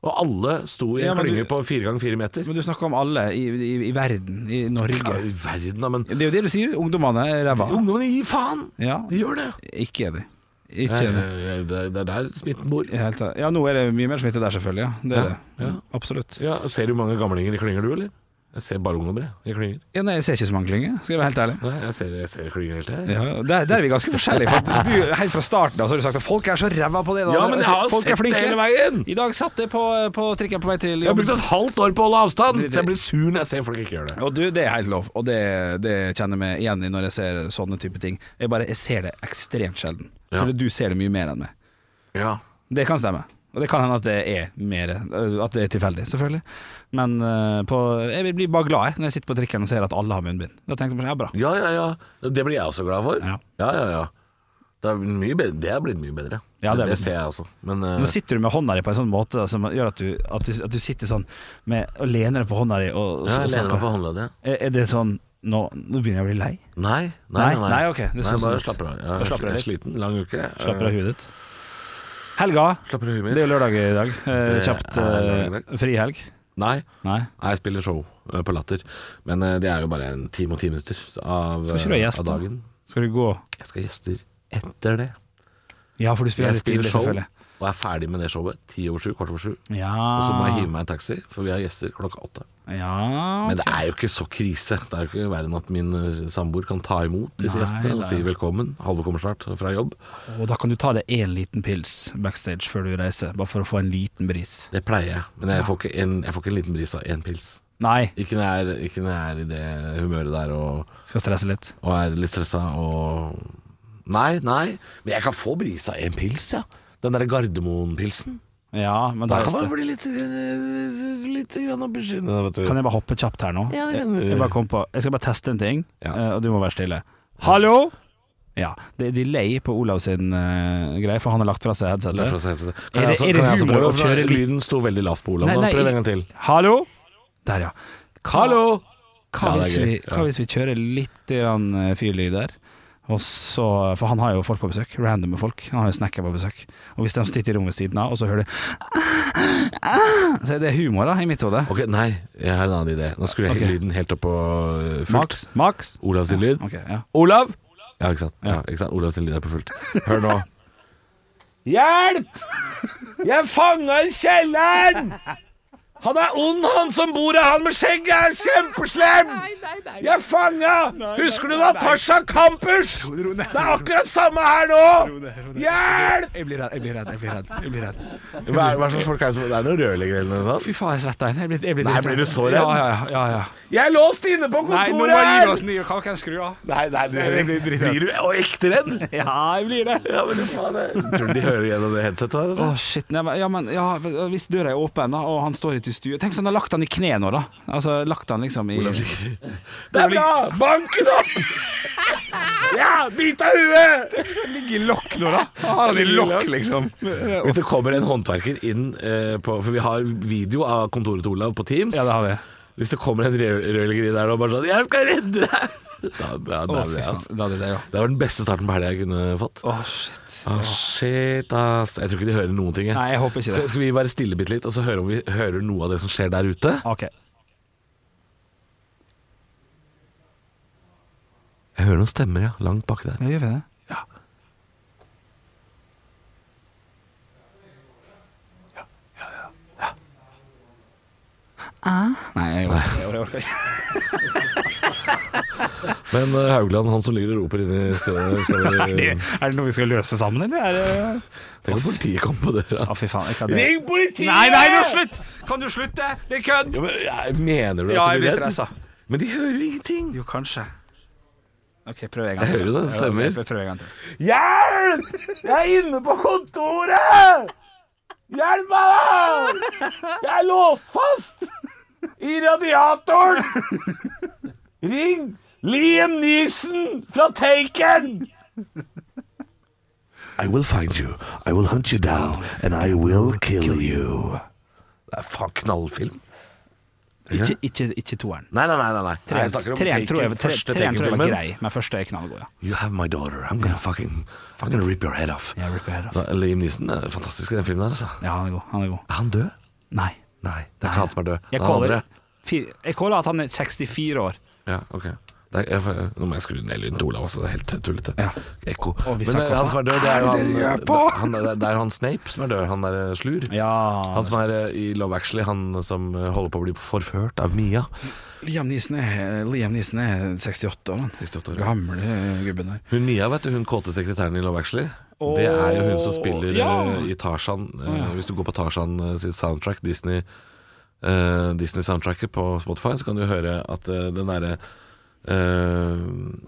Speaker 4: Og alle sto i en
Speaker 3: Ja, men
Speaker 4: klynge
Speaker 3: du-
Speaker 4: på fire ganger fire meter.
Speaker 3: Men du snakker om alle i, i, i verden, i
Speaker 4: Ja,
Speaker 3: Norge.
Speaker 4: I verden, da, men
Speaker 3: Det er jo det du sier, ungdommene er ræva.
Speaker 4: Ungdommene gir faen!
Speaker 3: Ja.
Speaker 4: De gjør det.
Speaker 3: Ikke enig. Ikke
Speaker 4: Eh,
Speaker 3: enig.
Speaker 4: eh, Det det er der smitten bor.
Speaker 3: I det hele tatt. Ja, nå er det mye mer smitte der, selvfølgelig. Ja. Det er
Speaker 4: Ja,
Speaker 3: det.
Speaker 4: ja.
Speaker 3: Absolutt.
Speaker 4: Ja, ser du hvor mange gamlinger i klynger, du, eller? Jeg ser bare ungdommer, jeg. Jeg klynger.
Speaker 3: Ja, nei, jeg ser ikke så mange klynger, skal jeg være helt ærlig.
Speaker 4: Nei, jeg ser, jeg ser klynger hele tida.
Speaker 3: Ja, der, der er vi ganske forskjellige. For at du, helt fra starten av så har du sagt at folk er så ræva på det. da.
Speaker 4: Ja, men jeg har
Speaker 3: folk
Speaker 4: sett det
Speaker 3: er flinke.
Speaker 4: hele veien.
Speaker 3: I dag satt jeg på, på trikken på vei til
Speaker 4: Jeg
Speaker 3: jobb.
Speaker 4: har brukt et halvt år på å holde avstand, så jeg blir sur når jeg ser folk ikke gjør det.
Speaker 3: Og du, det er helt lov, og det, det kjenner jeg meg igjen i når jeg ser sånne type ting. Jeg bare, jeg ser det ekstremt sjelden.
Speaker 4: Ja.
Speaker 3: Fordi du ser det mye mer enn meg.
Speaker 4: Ja.
Speaker 3: Det kan stemme. Og det kan hende at det er mer øh, At det er tilfeldig, selvfølgelig. Men øh, på, jeg blir bare glad jeg, når jeg sitter på trikken og ser at alle har munnbind. Da tenker jeg bare, ja, bra.
Speaker 4: ja, ja, ja. Det blir jeg også glad for.
Speaker 3: Ja.
Speaker 4: Ja, ja, ja. Det, er mye bedre. det er blitt mye bedre.
Speaker 3: Ja, det er
Speaker 4: det,
Speaker 3: blitt-
Speaker 4: ser jeg også. Men eh,
Speaker 3: Nå sitter du med hånda di på en sånn måte da, som gjør at du, at du, at du sitter sånn med, og lener deg på hånda di. Og, og,
Speaker 4: ja,
Speaker 3: og
Speaker 4: jeg lener meg
Speaker 3: snakker.
Speaker 4: på håndleddet.
Speaker 3: Er, er det sånn nå, nå begynner jeg å bli lei.
Speaker 4: Nei, nei, nei.
Speaker 3: Nei, nei, ok. Det så sånn ut.
Speaker 4: bare slapper av.
Speaker 3: Da
Speaker 4: Jeg,
Speaker 3: slapper
Speaker 4: jeg
Speaker 3: jeg
Speaker 4: er sliten. Lang uke. Eh,
Speaker 3: Slapper av huet ditt. Helga.
Speaker 4: Slapper av huet
Speaker 3: Det er jo
Speaker 4: mitt.
Speaker 3: lørdag i dag. Eh,
Speaker 4: Det
Speaker 3: kjapt
Speaker 4: er
Speaker 3: eh,
Speaker 4: lørdag i dag.
Speaker 3: fri helg.
Speaker 4: Nei,
Speaker 3: Nei.
Speaker 4: nei, jeg spiller show eh, på Latter. Men eh, det er jo bare en time og ti minutter av,
Speaker 3: Skal ikke du ha
Speaker 4: eh,
Speaker 3: gjest,
Speaker 4: av
Speaker 3: da?
Speaker 4: dagen.
Speaker 3: Skal du gå
Speaker 4: Jeg skal ha gjester etter det.
Speaker 3: Ja, for du spiller
Speaker 4: Jeg
Speaker 3: litt tidlig,
Speaker 4: spiller show
Speaker 3: selvfølgelig.
Speaker 4: og er ferdig med det showet ti over sju, kvart over sju.
Speaker 3: Ja.
Speaker 4: Og så må
Speaker 3: Ah.
Speaker 4: jeg hive meg en taxi, for vi har gjester klokka åtte.
Speaker 3: ja.
Speaker 4: Men det er jo ikke så krise. Det er jo ikke verre enn at min eh, samboer kan ta imot disse
Speaker 3: Nei,
Speaker 4: gjestene og
Speaker 3: nei.
Speaker 4: si velkommen. Halve kommer snart fra jobb.
Speaker 3: Og da kan du ta deg én liten pils backstage før du reiser, bare for å få en liten bris.
Speaker 4: Det pleier jeg, men jeg får ikke en, jeg får ikke en liten bris av én pils.
Speaker 3: Nei,
Speaker 4: Ikke når jeg er, ikke når jeg er i det humøret der og,
Speaker 3: skal stresse litt.
Speaker 4: og er litt stressa og Nei, nei. Men jeg kan få bris av én pils, ja. Den derre Gardermoen-pilsen.
Speaker 3: Ja, men
Speaker 4: Da
Speaker 3: da
Speaker 4: kan man
Speaker 3: kan,
Speaker 4: bli litt, eh, litt grann beskytta, vet du.
Speaker 3: kan jeg bare hoppe kjapt her nå?
Speaker 4: Ja, det kan du.
Speaker 3: jeg, jeg, bare kom på, jeg skal bare teste en ting,
Speaker 4: Eh. Ja.
Speaker 3: eh, og du må være stille. Hallo! Ja, det er delay på Olav sin eh, greie, for han har lagt fra seg
Speaker 4: Det er
Speaker 3: headsetet.
Speaker 4: fra Sætre.
Speaker 3: Er det-
Speaker 4: Kan jeg også-
Speaker 3: er det
Speaker 4: kan jeg også
Speaker 3: humor
Speaker 4: prøve-
Speaker 3: å kjøre litt-
Speaker 4: Lyden sto veldig lavt på Olav.
Speaker 3: Nei,
Speaker 4: nå.
Speaker 3: nei,
Speaker 4: Prøv
Speaker 3: i-
Speaker 4: en gang til.
Speaker 3: Hallo! Der, ja. Hva,
Speaker 4: Hallo!
Speaker 3: hva,
Speaker 4: Ja, det
Speaker 3: hvis,
Speaker 4: er gøy.
Speaker 3: vi, hva hvis vi kjører litt grann, eh, fyrlyd der? Og så, for han har jo folk på besøk, randomme folk. Han har jo snekker på besøk. Og hvis de sitter i rommet ved siden av, og så hører du Så er det humor, da, i mitt hode.
Speaker 4: Ok, nei, jeg har en annen idé. Nå skrur jeg
Speaker 3: Ok.
Speaker 4: lyden helt opp på øh, fullt.
Speaker 3: Max. Max.
Speaker 4: Olav sin lyd.
Speaker 3: Ok, ja.
Speaker 4: Olav! Ja, ikke sant. Ja, ikke sant? Olav sin lyd er på fullt. Hør nå. Hjelp! Jeg fanga i kjelleren! Han er ond, han som bor her. Han med skjegget er kjempeslem! Jeg fanga! Husker du Natasha Campus? Det er akkurat samme her nå! Hjelp!
Speaker 3: Jeg blir redd, jeg blir redd. jeg blir redd, jeg blir redd.
Speaker 4: Hva er, hva slags folk er det som Det er noen rørleggere eller noe sånt?
Speaker 3: Fy faen, jeg svetter inn. Jeg blir, jeg blir
Speaker 4: Nei,
Speaker 3: litt
Speaker 4: blir du så redd?
Speaker 3: Ja, ja, ja. ja, ja.
Speaker 4: Jeg er låst inne på
Speaker 3: Nei, nå
Speaker 4: kontoret
Speaker 3: bare gir vi
Speaker 4: her!
Speaker 3: oss nye Kan ikke jeg skru av?
Speaker 4: Nei, nei, du, blir, du og ekte redd?
Speaker 3: Ja, jeg blir det.
Speaker 4: Ja, men faen Tror du de hører gjennom det headsetet her? altså?
Speaker 3: Å, shit. Nei, men, ja, men ja, hvis døra er åpen, da, og han står ute i stua Tenk hvis han har lagt han i kne nå, da. Altså, lagt han liksom i
Speaker 4: Det er bra! Bank den opp! Ja, bit av huet!
Speaker 3: Ligger i lokk nå, da. Har han i lokk, liksom.
Speaker 4: Hvis det kommer en håndverker inn eh, på For vi har video av kontoret til Olav på Teams.
Speaker 3: Ja, det har vi.
Speaker 4: Hvis det kommer en rø- rørlegger inn der og bare sånn 'Jeg skal redde deg!' Da, da,
Speaker 3: Å,
Speaker 4: da, er
Speaker 3: fy
Speaker 4: det,
Speaker 3: faen.
Speaker 4: altså.
Speaker 3: Da er det det, ja.
Speaker 4: det var den beste starten på helga jeg kunne fått.
Speaker 3: Å, shit.
Speaker 4: Å, shit, ass. Jeg tror ikke de hører noen ting. jeg.
Speaker 3: Nei, jeg håper ikke
Speaker 4: Skal,
Speaker 3: det.
Speaker 4: skal vi være stille bitte litt, og så hører vi hører noe av det som skjer der ute?
Speaker 3: OK.
Speaker 4: Jeg hører noen stemmer, ja. Langt bak der.
Speaker 3: Ja, gjør vi det?
Speaker 4: Ja.
Speaker 3: Nei, jeg orker jeg orker ikke.
Speaker 4: Men eh, Haugland, han som ligger og roper inni stedet skal vi-
Speaker 3: Er det, er det noe vi skal løse sammen, eller? Er det...
Speaker 4: Tenk om politiet kommer på døra.
Speaker 3: Ja, fy faen. Ikke at det...
Speaker 4: Ring politiet!
Speaker 3: Nei, nei, nå slutt! Kan du slutte? Det er kødd!
Speaker 4: Ja, men, jeg mener du
Speaker 3: Ja,
Speaker 4: at du
Speaker 3: jeg blir
Speaker 4: blir
Speaker 3: stressa.
Speaker 4: Men de hører jo ingenting.
Speaker 3: Jo, kanskje. OK, prøv en gang
Speaker 4: Jeg hører jo det, det stemmer.
Speaker 3: Ja, prøv en gang til.
Speaker 4: Hjelp! Jeg er inne på kontoret! Hjelp meg, da! Jeg er låst fast i radiatoren! Ring Liam Neeson fra Taken! I will find you. I will hunt you down. And I will kill you. Det er faen knallfilm.
Speaker 3: Ikke, ikke, ikke toeren.
Speaker 4: Nei, nei, nei. nei, nei. Nei, Jeg snakker om
Speaker 3: Treeren tror jeg,
Speaker 4: Taken,
Speaker 3: tre,
Speaker 4: første
Speaker 3: treeren tror jeg var grei,
Speaker 4: Taken-filmen.
Speaker 3: men første er knallgod, ja.
Speaker 4: You have my daughter. I'm gonna fucking, I'm gonna rip your head off.
Speaker 3: Ja, Rip Your Head Off.
Speaker 4: Da, Liam Neeson er fantastisk i den filmen der, altså.
Speaker 3: Ja, han er god. Han er god.
Speaker 4: Er han død?
Speaker 3: Nei.
Speaker 4: Nei, det er ikke han som er død.
Speaker 3: Jeg
Speaker 4: Det er han
Speaker 3: caller,
Speaker 4: andre.
Speaker 3: fire, jeg caller at han er 64 år.
Speaker 4: Ja, ok. Det er, jeg, får- nå må jeg skru ned lyden til Olav også, det er helt tullete.
Speaker 3: Ja.
Speaker 4: Ekko.
Speaker 3: Og vi
Speaker 4: Men
Speaker 3: snakker
Speaker 4: eh, han
Speaker 3: om-
Speaker 4: som er død, det er jo
Speaker 3: Hva er
Speaker 4: han,
Speaker 3: det dere gjør
Speaker 4: det,
Speaker 3: på?
Speaker 4: han er, det er jo han Snape som er død, han der eh, slur.
Speaker 3: Ja
Speaker 4: Han som er eh, i Love Actually, han som eh, holder på å bli forført av Mia.
Speaker 3: Liam Neeson er, Liam Neeson er 68 år, han.
Speaker 4: 68 år, ja.
Speaker 3: Gamle eh, gubben der.
Speaker 4: Hun Mia, vet du, hun kåte sekretæren i Love Actually. Det er jo hun som spiller
Speaker 3: ja.
Speaker 4: eh, i Tarzan. eh, Hvis du går på Tarzan eh, sitt soundtrack, Disney, eh, Disney soundtracket på Spotify, så kan du høre at eh, den derre eh,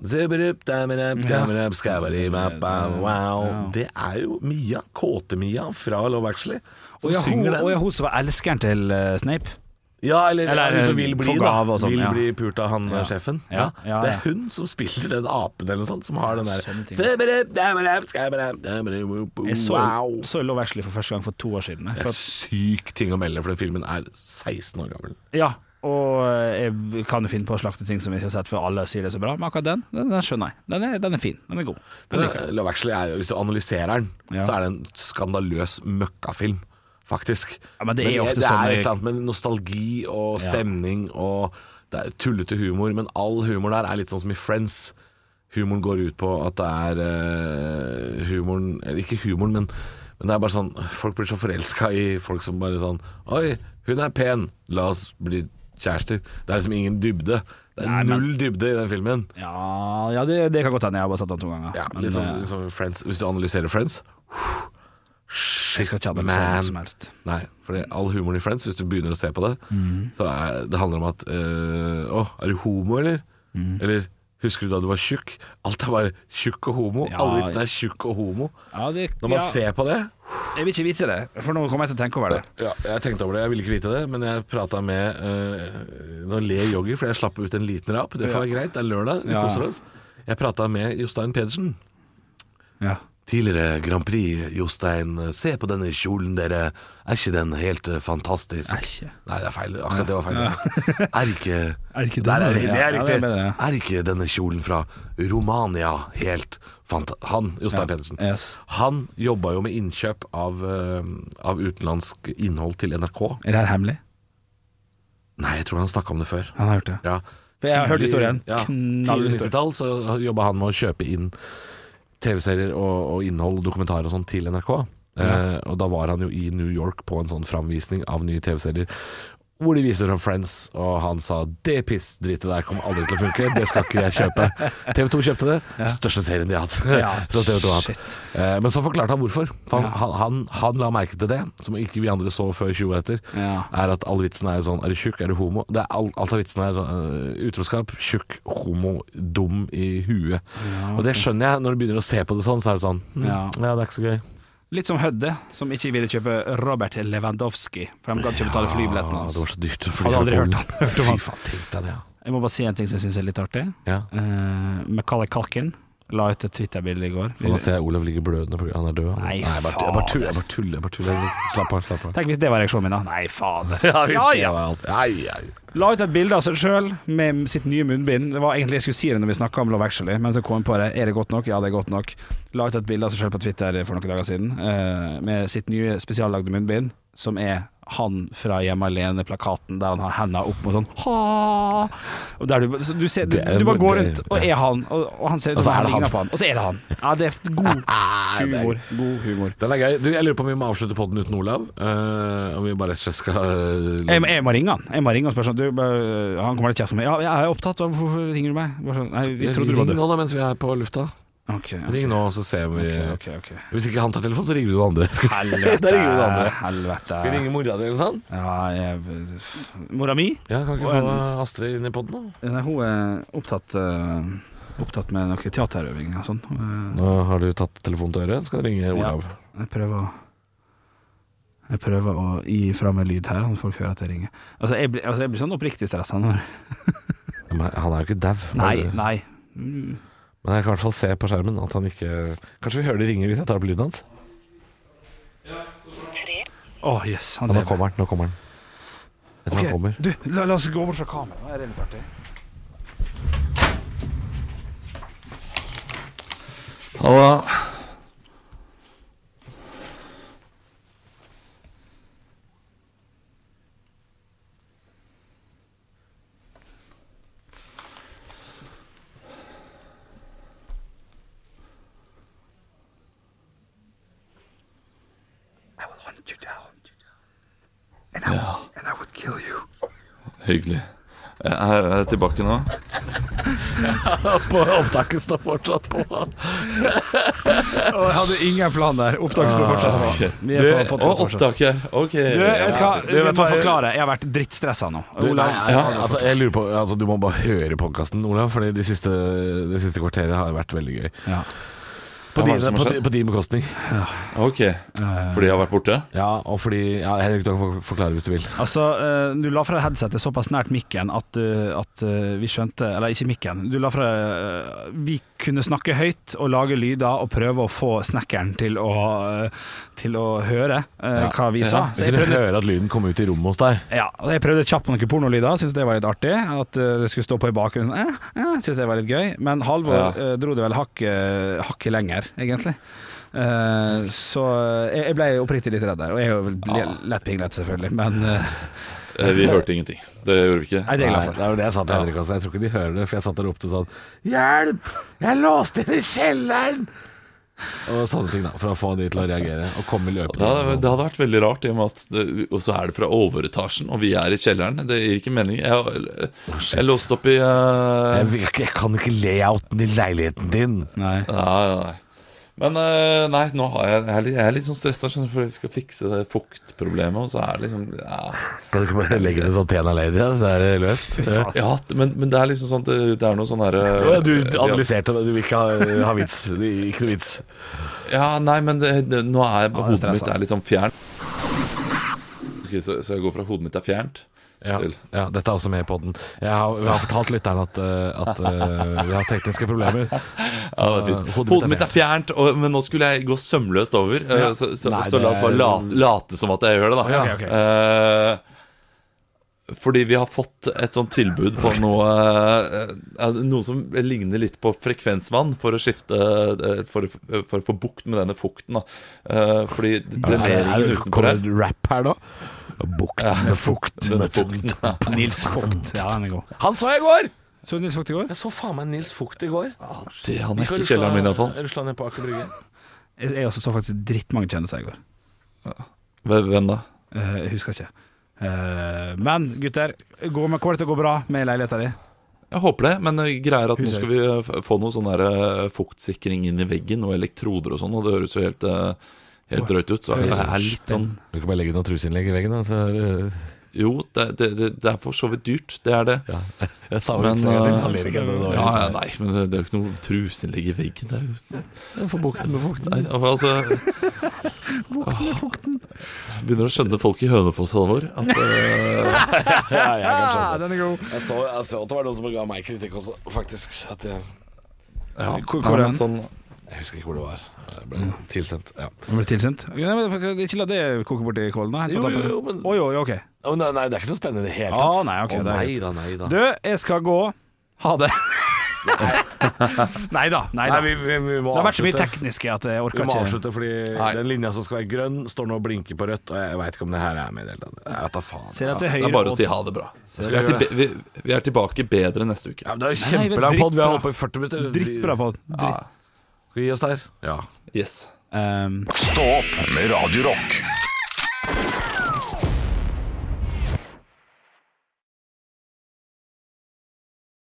Speaker 4: Zibberup, damerup, damerup, skabaribap, bow, Wow. Det er jo Mia, kåte-Mia fra Love Actually, som
Speaker 3: Og ja, hun,
Speaker 4: synger den.
Speaker 3: og ja, hun som var elskeren til eh, Snape.
Speaker 4: Ja, eller,
Speaker 3: Eller
Speaker 4: eller hun som vil bli, da.
Speaker 3: forgave og sånn,
Speaker 4: vil
Speaker 3: ja.
Speaker 4: bli pult av han eh, sjefen. Ja.
Speaker 3: Ja, ja,
Speaker 4: Det
Speaker 3: ja.
Speaker 4: er hun som spiller den apen eller noe sånt, som har den der
Speaker 3: Sånne ting.
Speaker 4: «Sebere, dæmere, skæbere, dæmere, wo- wo-
Speaker 3: Jeg så,
Speaker 4: Wow.
Speaker 3: så Love Actually for første gang for to år siden. jeg.
Speaker 4: Det
Speaker 3: For
Speaker 4: er
Speaker 3: at,
Speaker 4: syk ting å melde, for den filmen er 16 år gammel.
Speaker 3: ja, og eh, jeg kan jo finne på å slakte ting som jeg ikke har sett før alle sier det er så bra, men akkurat den, den, den skjønner jeg. Den er, den er fin. Den er god. Den
Speaker 4: Den
Speaker 3: liker jeg.
Speaker 4: er- Love Actually er, jo- hvis du analyserer den,
Speaker 3: Ja.
Speaker 4: så er det en skandaløs møkkafilm, faktisk.
Speaker 3: Ja, men det er ofte
Speaker 4: det
Speaker 3: sånn-
Speaker 4: er et eller annet med nostalgi og stemning og det er tullete humor, men all humor der er litt sånn som i Friends. Humoren går ut på at det er eh, humoren Eller ikke humoren, men, men det er bare sånn Folk blir så forelska i folk som bare sånn Oi, hun er pen, la oss bli kjærester. Det er liksom ingen dybde. Det er null dybde i den filmen.
Speaker 3: Ja, ja det, det kan godt hende. Jeg har bare sett den to ganger.
Speaker 4: Ja,
Speaker 3: Men,
Speaker 4: litt
Speaker 3: eh,
Speaker 4: sånn, litt sånn Friends Hvis du analyserer Friends
Speaker 3: jeg skal ikke ha det med
Speaker 4: man.
Speaker 3: noe som helst.
Speaker 4: Nei, for det, all humoren i Friends Hvis du begynner å se på det Så er, det handler om at øh, Å, er du homo eller? Eller husker du da du var tjukk? Alt er bare tjukk og homo
Speaker 3: Ja,
Speaker 4: Alle vitsene er tjukk og homo
Speaker 3: Ja, det,
Speaker 4: Når man
Speaker 3: ja,
Speaker 4: ser på det
Speaker 3: Jeg vil ikke vite det, for nå kommer jeg til å tenke over det.
Speaker 4: ja, Jeg tenkte over det, jeg ville ikke vite det Men jeg pratet med øh, Nå ler Joggi for jeg slapp ut en liten rap Det får være greit, det er lørdag, vi
Speaker 3: Ja.
Speaker 4: koser oss Jeg pratet med Jostein Pedersen
Speaker 3: Ja.
Speaker 4: Tidligere Grand Prix, Jostein. Se på denne kjolen, dere. Er ikke den helt eh, fantastisk?
Speaker 3: Er ikke.
Speaker 4: Nei, det er feil. Akkurat det var feil. Er ikke
Speaker 3: Er ikke den,
Speaker 4: Der er,
Speaker 3: ja.
Speaker 4: Det
Speaker 3: Ja,
Speaker 4: er
Speaker 3: det er
Speaker 4: riktig.
Speaker 3: bedre, ja.
Speaker 4: Er ikke denne kjolen fra Romania helt fanta... Han, Jostein Pedersen.
Speaker 3: yes.
Speaker 4: Han jobba jo med innkjøp av, eh, av utenlandsk innhold til NRK.
Speaker 3: Er det her hemmelig?
Speaker 4: Nei, jeg tror han snakka om det før.
Speaker 3: Han har gjort det.
Speaker 4: Ja.
Speaker 3: For jeg har hørt
Speaker 4: Tidlig-
Speaker 3: historien.
Speaker 4: Ja,
Speaker 3: Knall
Speaker 4: tidlig
Speaker 3: historie.
Speaker 4: 90-tall så jobba han med å kjøpe inn TV-serier og, og innhold, dokumentarer og sånn til NRK. Eh, og da var han jo i New York på en sånn framvisning av nye TV-serier. Hvor de viser fram Friends, og han sa 'det pissdritet der kommer aldri til å funke', det skal ikke jeg kjøpe. TV 2 kjøpte det. Største serien de har hatt.
Speaker 3: Ja,
Speaker 4: Så TV2 har
Speaker 3: shit.
Speaker 4: hatt. Eh, men så forklarte han hvorfor. For han, han, han, han la merke til det, som ikke vi andre så før 20 år etter,
Speaker 3: Ja.
Speaker 4: er at alle vitsene er jo sånn Er du tjukk? Er du homo? Det er alt, alt av vitsene er eh, utroskap, tjukk, homo, dum i huet. Og det skjønner jeg. Når du begynner å se på det sånn, så er det sånn hm, ja.
Speaker 3: Ja.
Speaker 4: det er ikke så gøy.
Speaker 3: Litt som Hødde, som ikke ville kjøpe Robert Lewandowski, for de gadd ikke betale flybilletten
Speaker 4: Ja,
Speaker 3: hans.
Speaker 4: Ah, det var så dyrt. å fly
Speaker 3: Hadde
Speaker 4: fra
Speaker 3: aldri hørt han.
Speaker 4: Polen.
Speaker 3: Hørt om han.
Speaker 4: Fy faen, tenk deg det, ja.
Speaker 3: Jeg må bare si en ting som jeg syns er litt artig.
Speaker 4: Ja.
Speaker 3: Uh, Macaulay Kalkin la ut et Twitter-bilde i går.
Speaker 4: For Nå ser jeg Olav ligger blødende på grunn av han er død.
Speaker 3: Nei,
Speaker 4: jeg bare- jeg bare tuller. Jeg bare tuller. Jeg bare tuller. Slapp av, slapp av.
Speaker 3: Tenk hvis det var reaksjonen min, da. Nei, fader.
Speaker 4: ja, ja.
Speaker 3: La ut et bilde av seg sjøl med sitt nye munnbind. Det var egentlig jeg skulle si det når vi snakka om Love Actually, men så kom jeg på det. Er det godt nok? Ja, det er godt nok. La ut et bilde av seg sjøl på Twitter for noen dager siden eh, med sitt nye spesiallagde munnbind, som er han fra Hjemme alene-plakaten der han har henda opp mot sånn ha! Og der du, så du, ser, du,
Speaker 4: Det er-
Speaker 3: du bare går
Speaker 4: det-
Speaker 3: rundt og er han, og, og han ser ut
Speaker 4: Og så
Speaker 3: som
Speaker 4: er
Speaker 3: han
Speaker 4: det han.
Speaker 3: ligner på han, og så er det han. Ja, det er god
Speaker 4: Nei, det er-
Speaker 3: humor. God humor.
Speaker 4: Den er gøy. Du, jeg lurer på om vi må avslutte podden uten Olav. eh, om vi bare rett og slett skal eh,
Speaker 3: Jeg, må- jeg må ringe han. Jeg må ringe og spørre sånn du, bare- Han kommer litt kjeft på meg. Ja, jeg er opptatt. Hvorfor ringer du meg? Bare sånn, Nei, vi trodde du var
Speaker 4: Ring
Speaker 3: død.
Speaker 4: nå da, mens vi er på lufta.
Speaker 3: Ok, ja.
Speaker 4: Ring nå, så ser vi
Speaker 3: Ok, ok, ok.
Speaker 4: Hvis ikke han tar telefonen, så ringer du det andre. da ringer du det andre.
Speaker 3: Helvete.
Speaker 4: Vi ringer mora di eller noe sånt.
Speaker 3: Ja, jeg, mora mi?
Speaker 4: Ja, kan ikke
Speaker 3: Og
Speaker 4: få Astrid inn i podden, da?
Speaker 3: Nei, hun er opptatt, eh, opptatt med noe teaterøving og sånn. Hun,
Speaker 4: Nå har du tatt telefonen til øret, skal du ringe
Speaker 3: eh,
Speaker 4: Olav.
Speaker 3: ja. Jeg prøver å jeg prøver å gi fra meg lyd her, sånn at folk hører at jeg ringer. Altså, jeg blir, altså, jeg blir sånn oppriktig stressa når
Speaker 4: Men han er jo ikke dau.
Speaker 3: Nei,
Speaker 4: Men
Speaker 3: nei.
Speaker 4: jeg kan i hvert fall se på skjermen at han ikke Kanskje vi hører det ringer hvis jeg tar opp lyden hans?
Speaker 3: Å, yes. Han
Speaker 4: Ja, nå
Speaker 3: lever.
Speaker 4: kommer han. Nå kommer han. Jeg tror
Speaker 3: Ok,
Speaker 4: han kommer.
Speaker 3: Du, la, la oss gå bort fra kameraet. Er det litt artig?
Speaker 5: Hallo. Hyggelig. Jeg er, jeg er tilbake nå.
Speaker 4: På opptaket står fortsatt på.
Speaker 3: Jeg hadde ingen plan der. Opptaket står
Speaker 5: Ah,
Speaker 3: fortsatt på. Vi er på
Speaker 5: Å,
Speaker 3: podcast fortsatt.
Speaker 5: opptak her. Ok.
Speaker 3: Du, vet du hva,
Speaker 4: Du,
Speaker 3: vi må
Speaker 4: vet du hva-
Speaker 3: forklare. Jeg har vært drittstressa nå.
Speaker 4: Olav,
Speaker 3: Olav,
Speaker 4: ja, altså, jeg lurer på, altså, du må bare høre podkasten, Olav, Fordi det siste, de siste kvarteret har vært veldig gøy.
Speaker 3: Ja.
Speaker 4: På,
Speaker 5: Hva var
Speaker 4: din,
Speaker 5: det som
Speaker 4: på,
Speaker 5: har
Speaker 4: di-
Speaker 5: skjedd?
Speaker 4: på din bekostning.
Speaker 5: Ok, fordi jeg har vært borte?
Speaker 4: Ja, og fordi ja, Henrik, du kan for- forklare hvis du vil.
Speaker 3: altså, eh, du la fra deg headsetet såpass nært mikken at, eh, at eh, vi skjønte Eller ikke mikken. Du la fra deg eh, Vi kunne snakke høyt og lage lyder og prøve å få snekkeren til å, eh, til å høre eh, hva vi sa.
Speaker 4: Jeg kunne høre at lyden kom ut i rommet hos deg.
Speaker 3: Ja, og jeg prøvde kjapt på noen pornolyder, syntes det var litt artig. At eh, det skulle stå på i bakgrunnen. Eh, eh, syntes det var litt gøy. Men Halvor
Speaker 5: Ja.
Speaker 3: eh, dro det vel hakket hakket lenger, egentlig. Eh, så jeg, jeg ble oppriktig litt redd der. Og jeg er jo vel le- lett pinglete, selvfølgelig, men eh,
Speaker 5: Eh, Vi hørte ingenting. Det gjorde vi
Speaker 3: Nei,
Speaker 5: ikke.
Speaker 3: det er jeg glad
Speaker 4: Nei,
Speaker 3: for.
Speaker 4: det var det jeg sa til Henrik også. Jeg tror ikke de hører det, for jeg satt der oppe og sånn Hjelp! Jeg er låst inne i kjelleren! Og sånne ting, da. For å få de til å reagere og komme
Speaker 5: Det
Speaker 4: løpende.
Speaker 5: hadde,
Speaker 4: og
Speaker 5: det
Speaker 4: sånn.
Speaker 5: hadde vært veldig rart, i og med at det- Og så er det fra overetasjen, og vi er i kjelleren. Det gir ikke mening. Jeg, jeg, jeg låste opp i eh,
Speaker 4: jeg, vil ikke- jeg kan ikke layouten i leiligheten din.
Speaker 3: Nei.
Speaker 5: Nei, nei, nei. Men eh, nei, nå har jeg, jeg, er litt, jeg er litt sånn stressa, skjønner du, for vi skal fikse det fuktproblemet. Og så er det liksom Ja,
Speaker 4: Kan du ikke bare legge det sånn Tena Lady, ja, så er det løst?
Speaker 5: ja men, men det er liksom sånn at det, det er noe sånn herre
Speaker 4: Ja, Du analyserte det, du vil ikke ha, ha vits. Det er Ikke noe vits.
Speaker 5: Ja, nei, men det, det, nå er hodet
Speaker 3: stressa.
Speaker 5: mitt er liksom fjernt. Ok, så, så jeg går fra hodet mitt er fjernt
Speaker 4: Ja,
Speaker 5: til
Speaker 4: ja, dette er også med i poden. Jeg har, vi har fortalt lytterne at, eh, at eh, vi har tekniske problemer.
Speaker 5: Ja, det er fint.
Speaker 4: Så,
Speaker 5: Hodet, mitt er fjernt, og, men nå skulle jeg gå sømløst over. eh, Så, så,
Speaker 4: Nei,
Speaker 5: så la
Speaker 4: det
Speaker 5: oss bare
Speaker 4: er-
Speaker 5: late, late som at jeg gjør det, da.
Speaker 4: Ja, ok,
Speaker 3: ok.
Speaker 5: Eh, fordi vi har fått et sånt tilbud på noe eh, Noe som ligner litt på frekvensvann, for å skifte eh, For, for å få bukt med denne fukten. Da. Eh, fordi dreneringen utenfor
Speaker 4: Kommer
Speaker 5: her
Speaker 4: det en rap her nå? Bukt med fukt.
Speaker 5: denne
Speaker 4: med
Speaker 5: fukten,
Speaker 4: fukt.
Speaker 3: Nils Vogt. Ja, den er god.
Speaker 4: Han så jeg i går!
Speaker 3: Så du Nils Vogt i går?
Speaker 4: Jeg så faen meg Nils Fugt i går.
Speaker 5: Det han er ikke i kjelleren min, iallfall.
Speaker 4: Russland er på Aker Brygge.
Speaker 3: Jeg, jeg også så faktisk drittmange kjendiser i går.
Speaker 5: Hvem da?
Speaker 3: Eh, Jeg husker ikke. Eh, men gutter, gå med kommer det til å gå bra med leiligheta di?
Speaker 5: Jeg håper det, men greier at nå
Speaker 3: Huset
Speaker 5: skal vi eh, f- få noe sånn der eh, fuktsikring inn i veggen, og elektroder og sånn, og det høres jo helt, eh, helt drøyt ut. Så
Speaker 3: Det
Speaker 5: jeg
Speaker 3: høres
Speaker 5: er litt sånn
Speaker 4: Du kan bare legge noen truseinnlegg i veggen. da, Så, er det-
Speaker 5: Jo, det, det, det, det er for så vidt dyrt, det er det. Ja,
Speaker 4: jeg sa
Speaker 5: Men,
Speaker 4: men,
Speaker 5: eh,
Speaker 4: uh,
Speaker 5: ja nei, men det, det er jo ikke noe truseinnlegg i veggen. Det er jo
Speaker 4: Få bukt med fukten.
Speaker 5: Nei, altså Åh, Begynner å skjønne folk i Hønefoss, Halvor. at, eh,
Speaker 4: Ja, jeg kan skjønne det.
Speaker 3: den er god.
Speaker 4: Jeg så, jeg så at det var noen som ga meg kritikk også, faktisk. At jeg,
Speaker 5: Ja,
Speaker 3: Hvor- hvor
Speaker 5: nei,
Speaker 3: er
Speaker 5: men
Speaker 3: den?
Speaker 5: sånn
Speaker 4: jeg husker ikke hvor det var. Jeg ble
Speaker 3: Mm.
Speaker 4: tilsendt. Ja.
Speaker 3: Den ble tilsendt? Ok, nei, men Ikke la det koke bort i kålen, da.
Speaker 4: Jo, jo, jo, men-
Speaker 3: Oi, oi, ok.
Speaker 4: Å, nei, nei, det er ikke noe spennende i det hele
Speaker 3: Å,
Speaker 4: tatt.
Speaker 3: nei, ok,
Speaker 4: Å,
Speaker 3: det er
Speaker 4: nei da, nei da.
Speaker 3: Du, jeg skal gå. Ha det. nei da. Nei da.
Speaker 4: nei, vi, vi, vi må
Speaker 3: Det har vært så mye
Speaker 4: avslutte.
Speaker 3: teknisk at jeg
Speaker 4: Vi
Speaker 3: orker
Speaker 4: må
Speaker 3: ikke.
Speaker 4: avslutte, fordi
Speaker 5: Nei.
Speaker 4: den linja som skal være grønn, står nå og blinker på rødt. Og jeg veit ikke om det her er med i det hele tatt. Jeg vet da faen.
Speaker 3: Ser at det er
Speaker 5: Det
Speaker 3: høyre
Speaker 5: er bare å
Speaker 3: og-
Speaker 5: si ha det bra.
Speaker 4: Skal
Speaker 5: Vi er,
Speaker 4: jeg gjøre
Speaker 5: tilbe- vi, vi er tilbake bedre neste uke.
Speaker 4: Ja, men det er jo
Speaker 3: Nei, nei,
Speaker 4: kjempelang pod. Vi har
Speaker 3: drittbra.
Speaker 4: holdt på i 40 minutter.
Speaker 3: Drittbra på dritt.
Speaker 4: Skal vi gi oss der? Ja.
Speaker 5: Yes.
Speaker 3: Um,
Speaker 1: Stå opp med Radio Rock.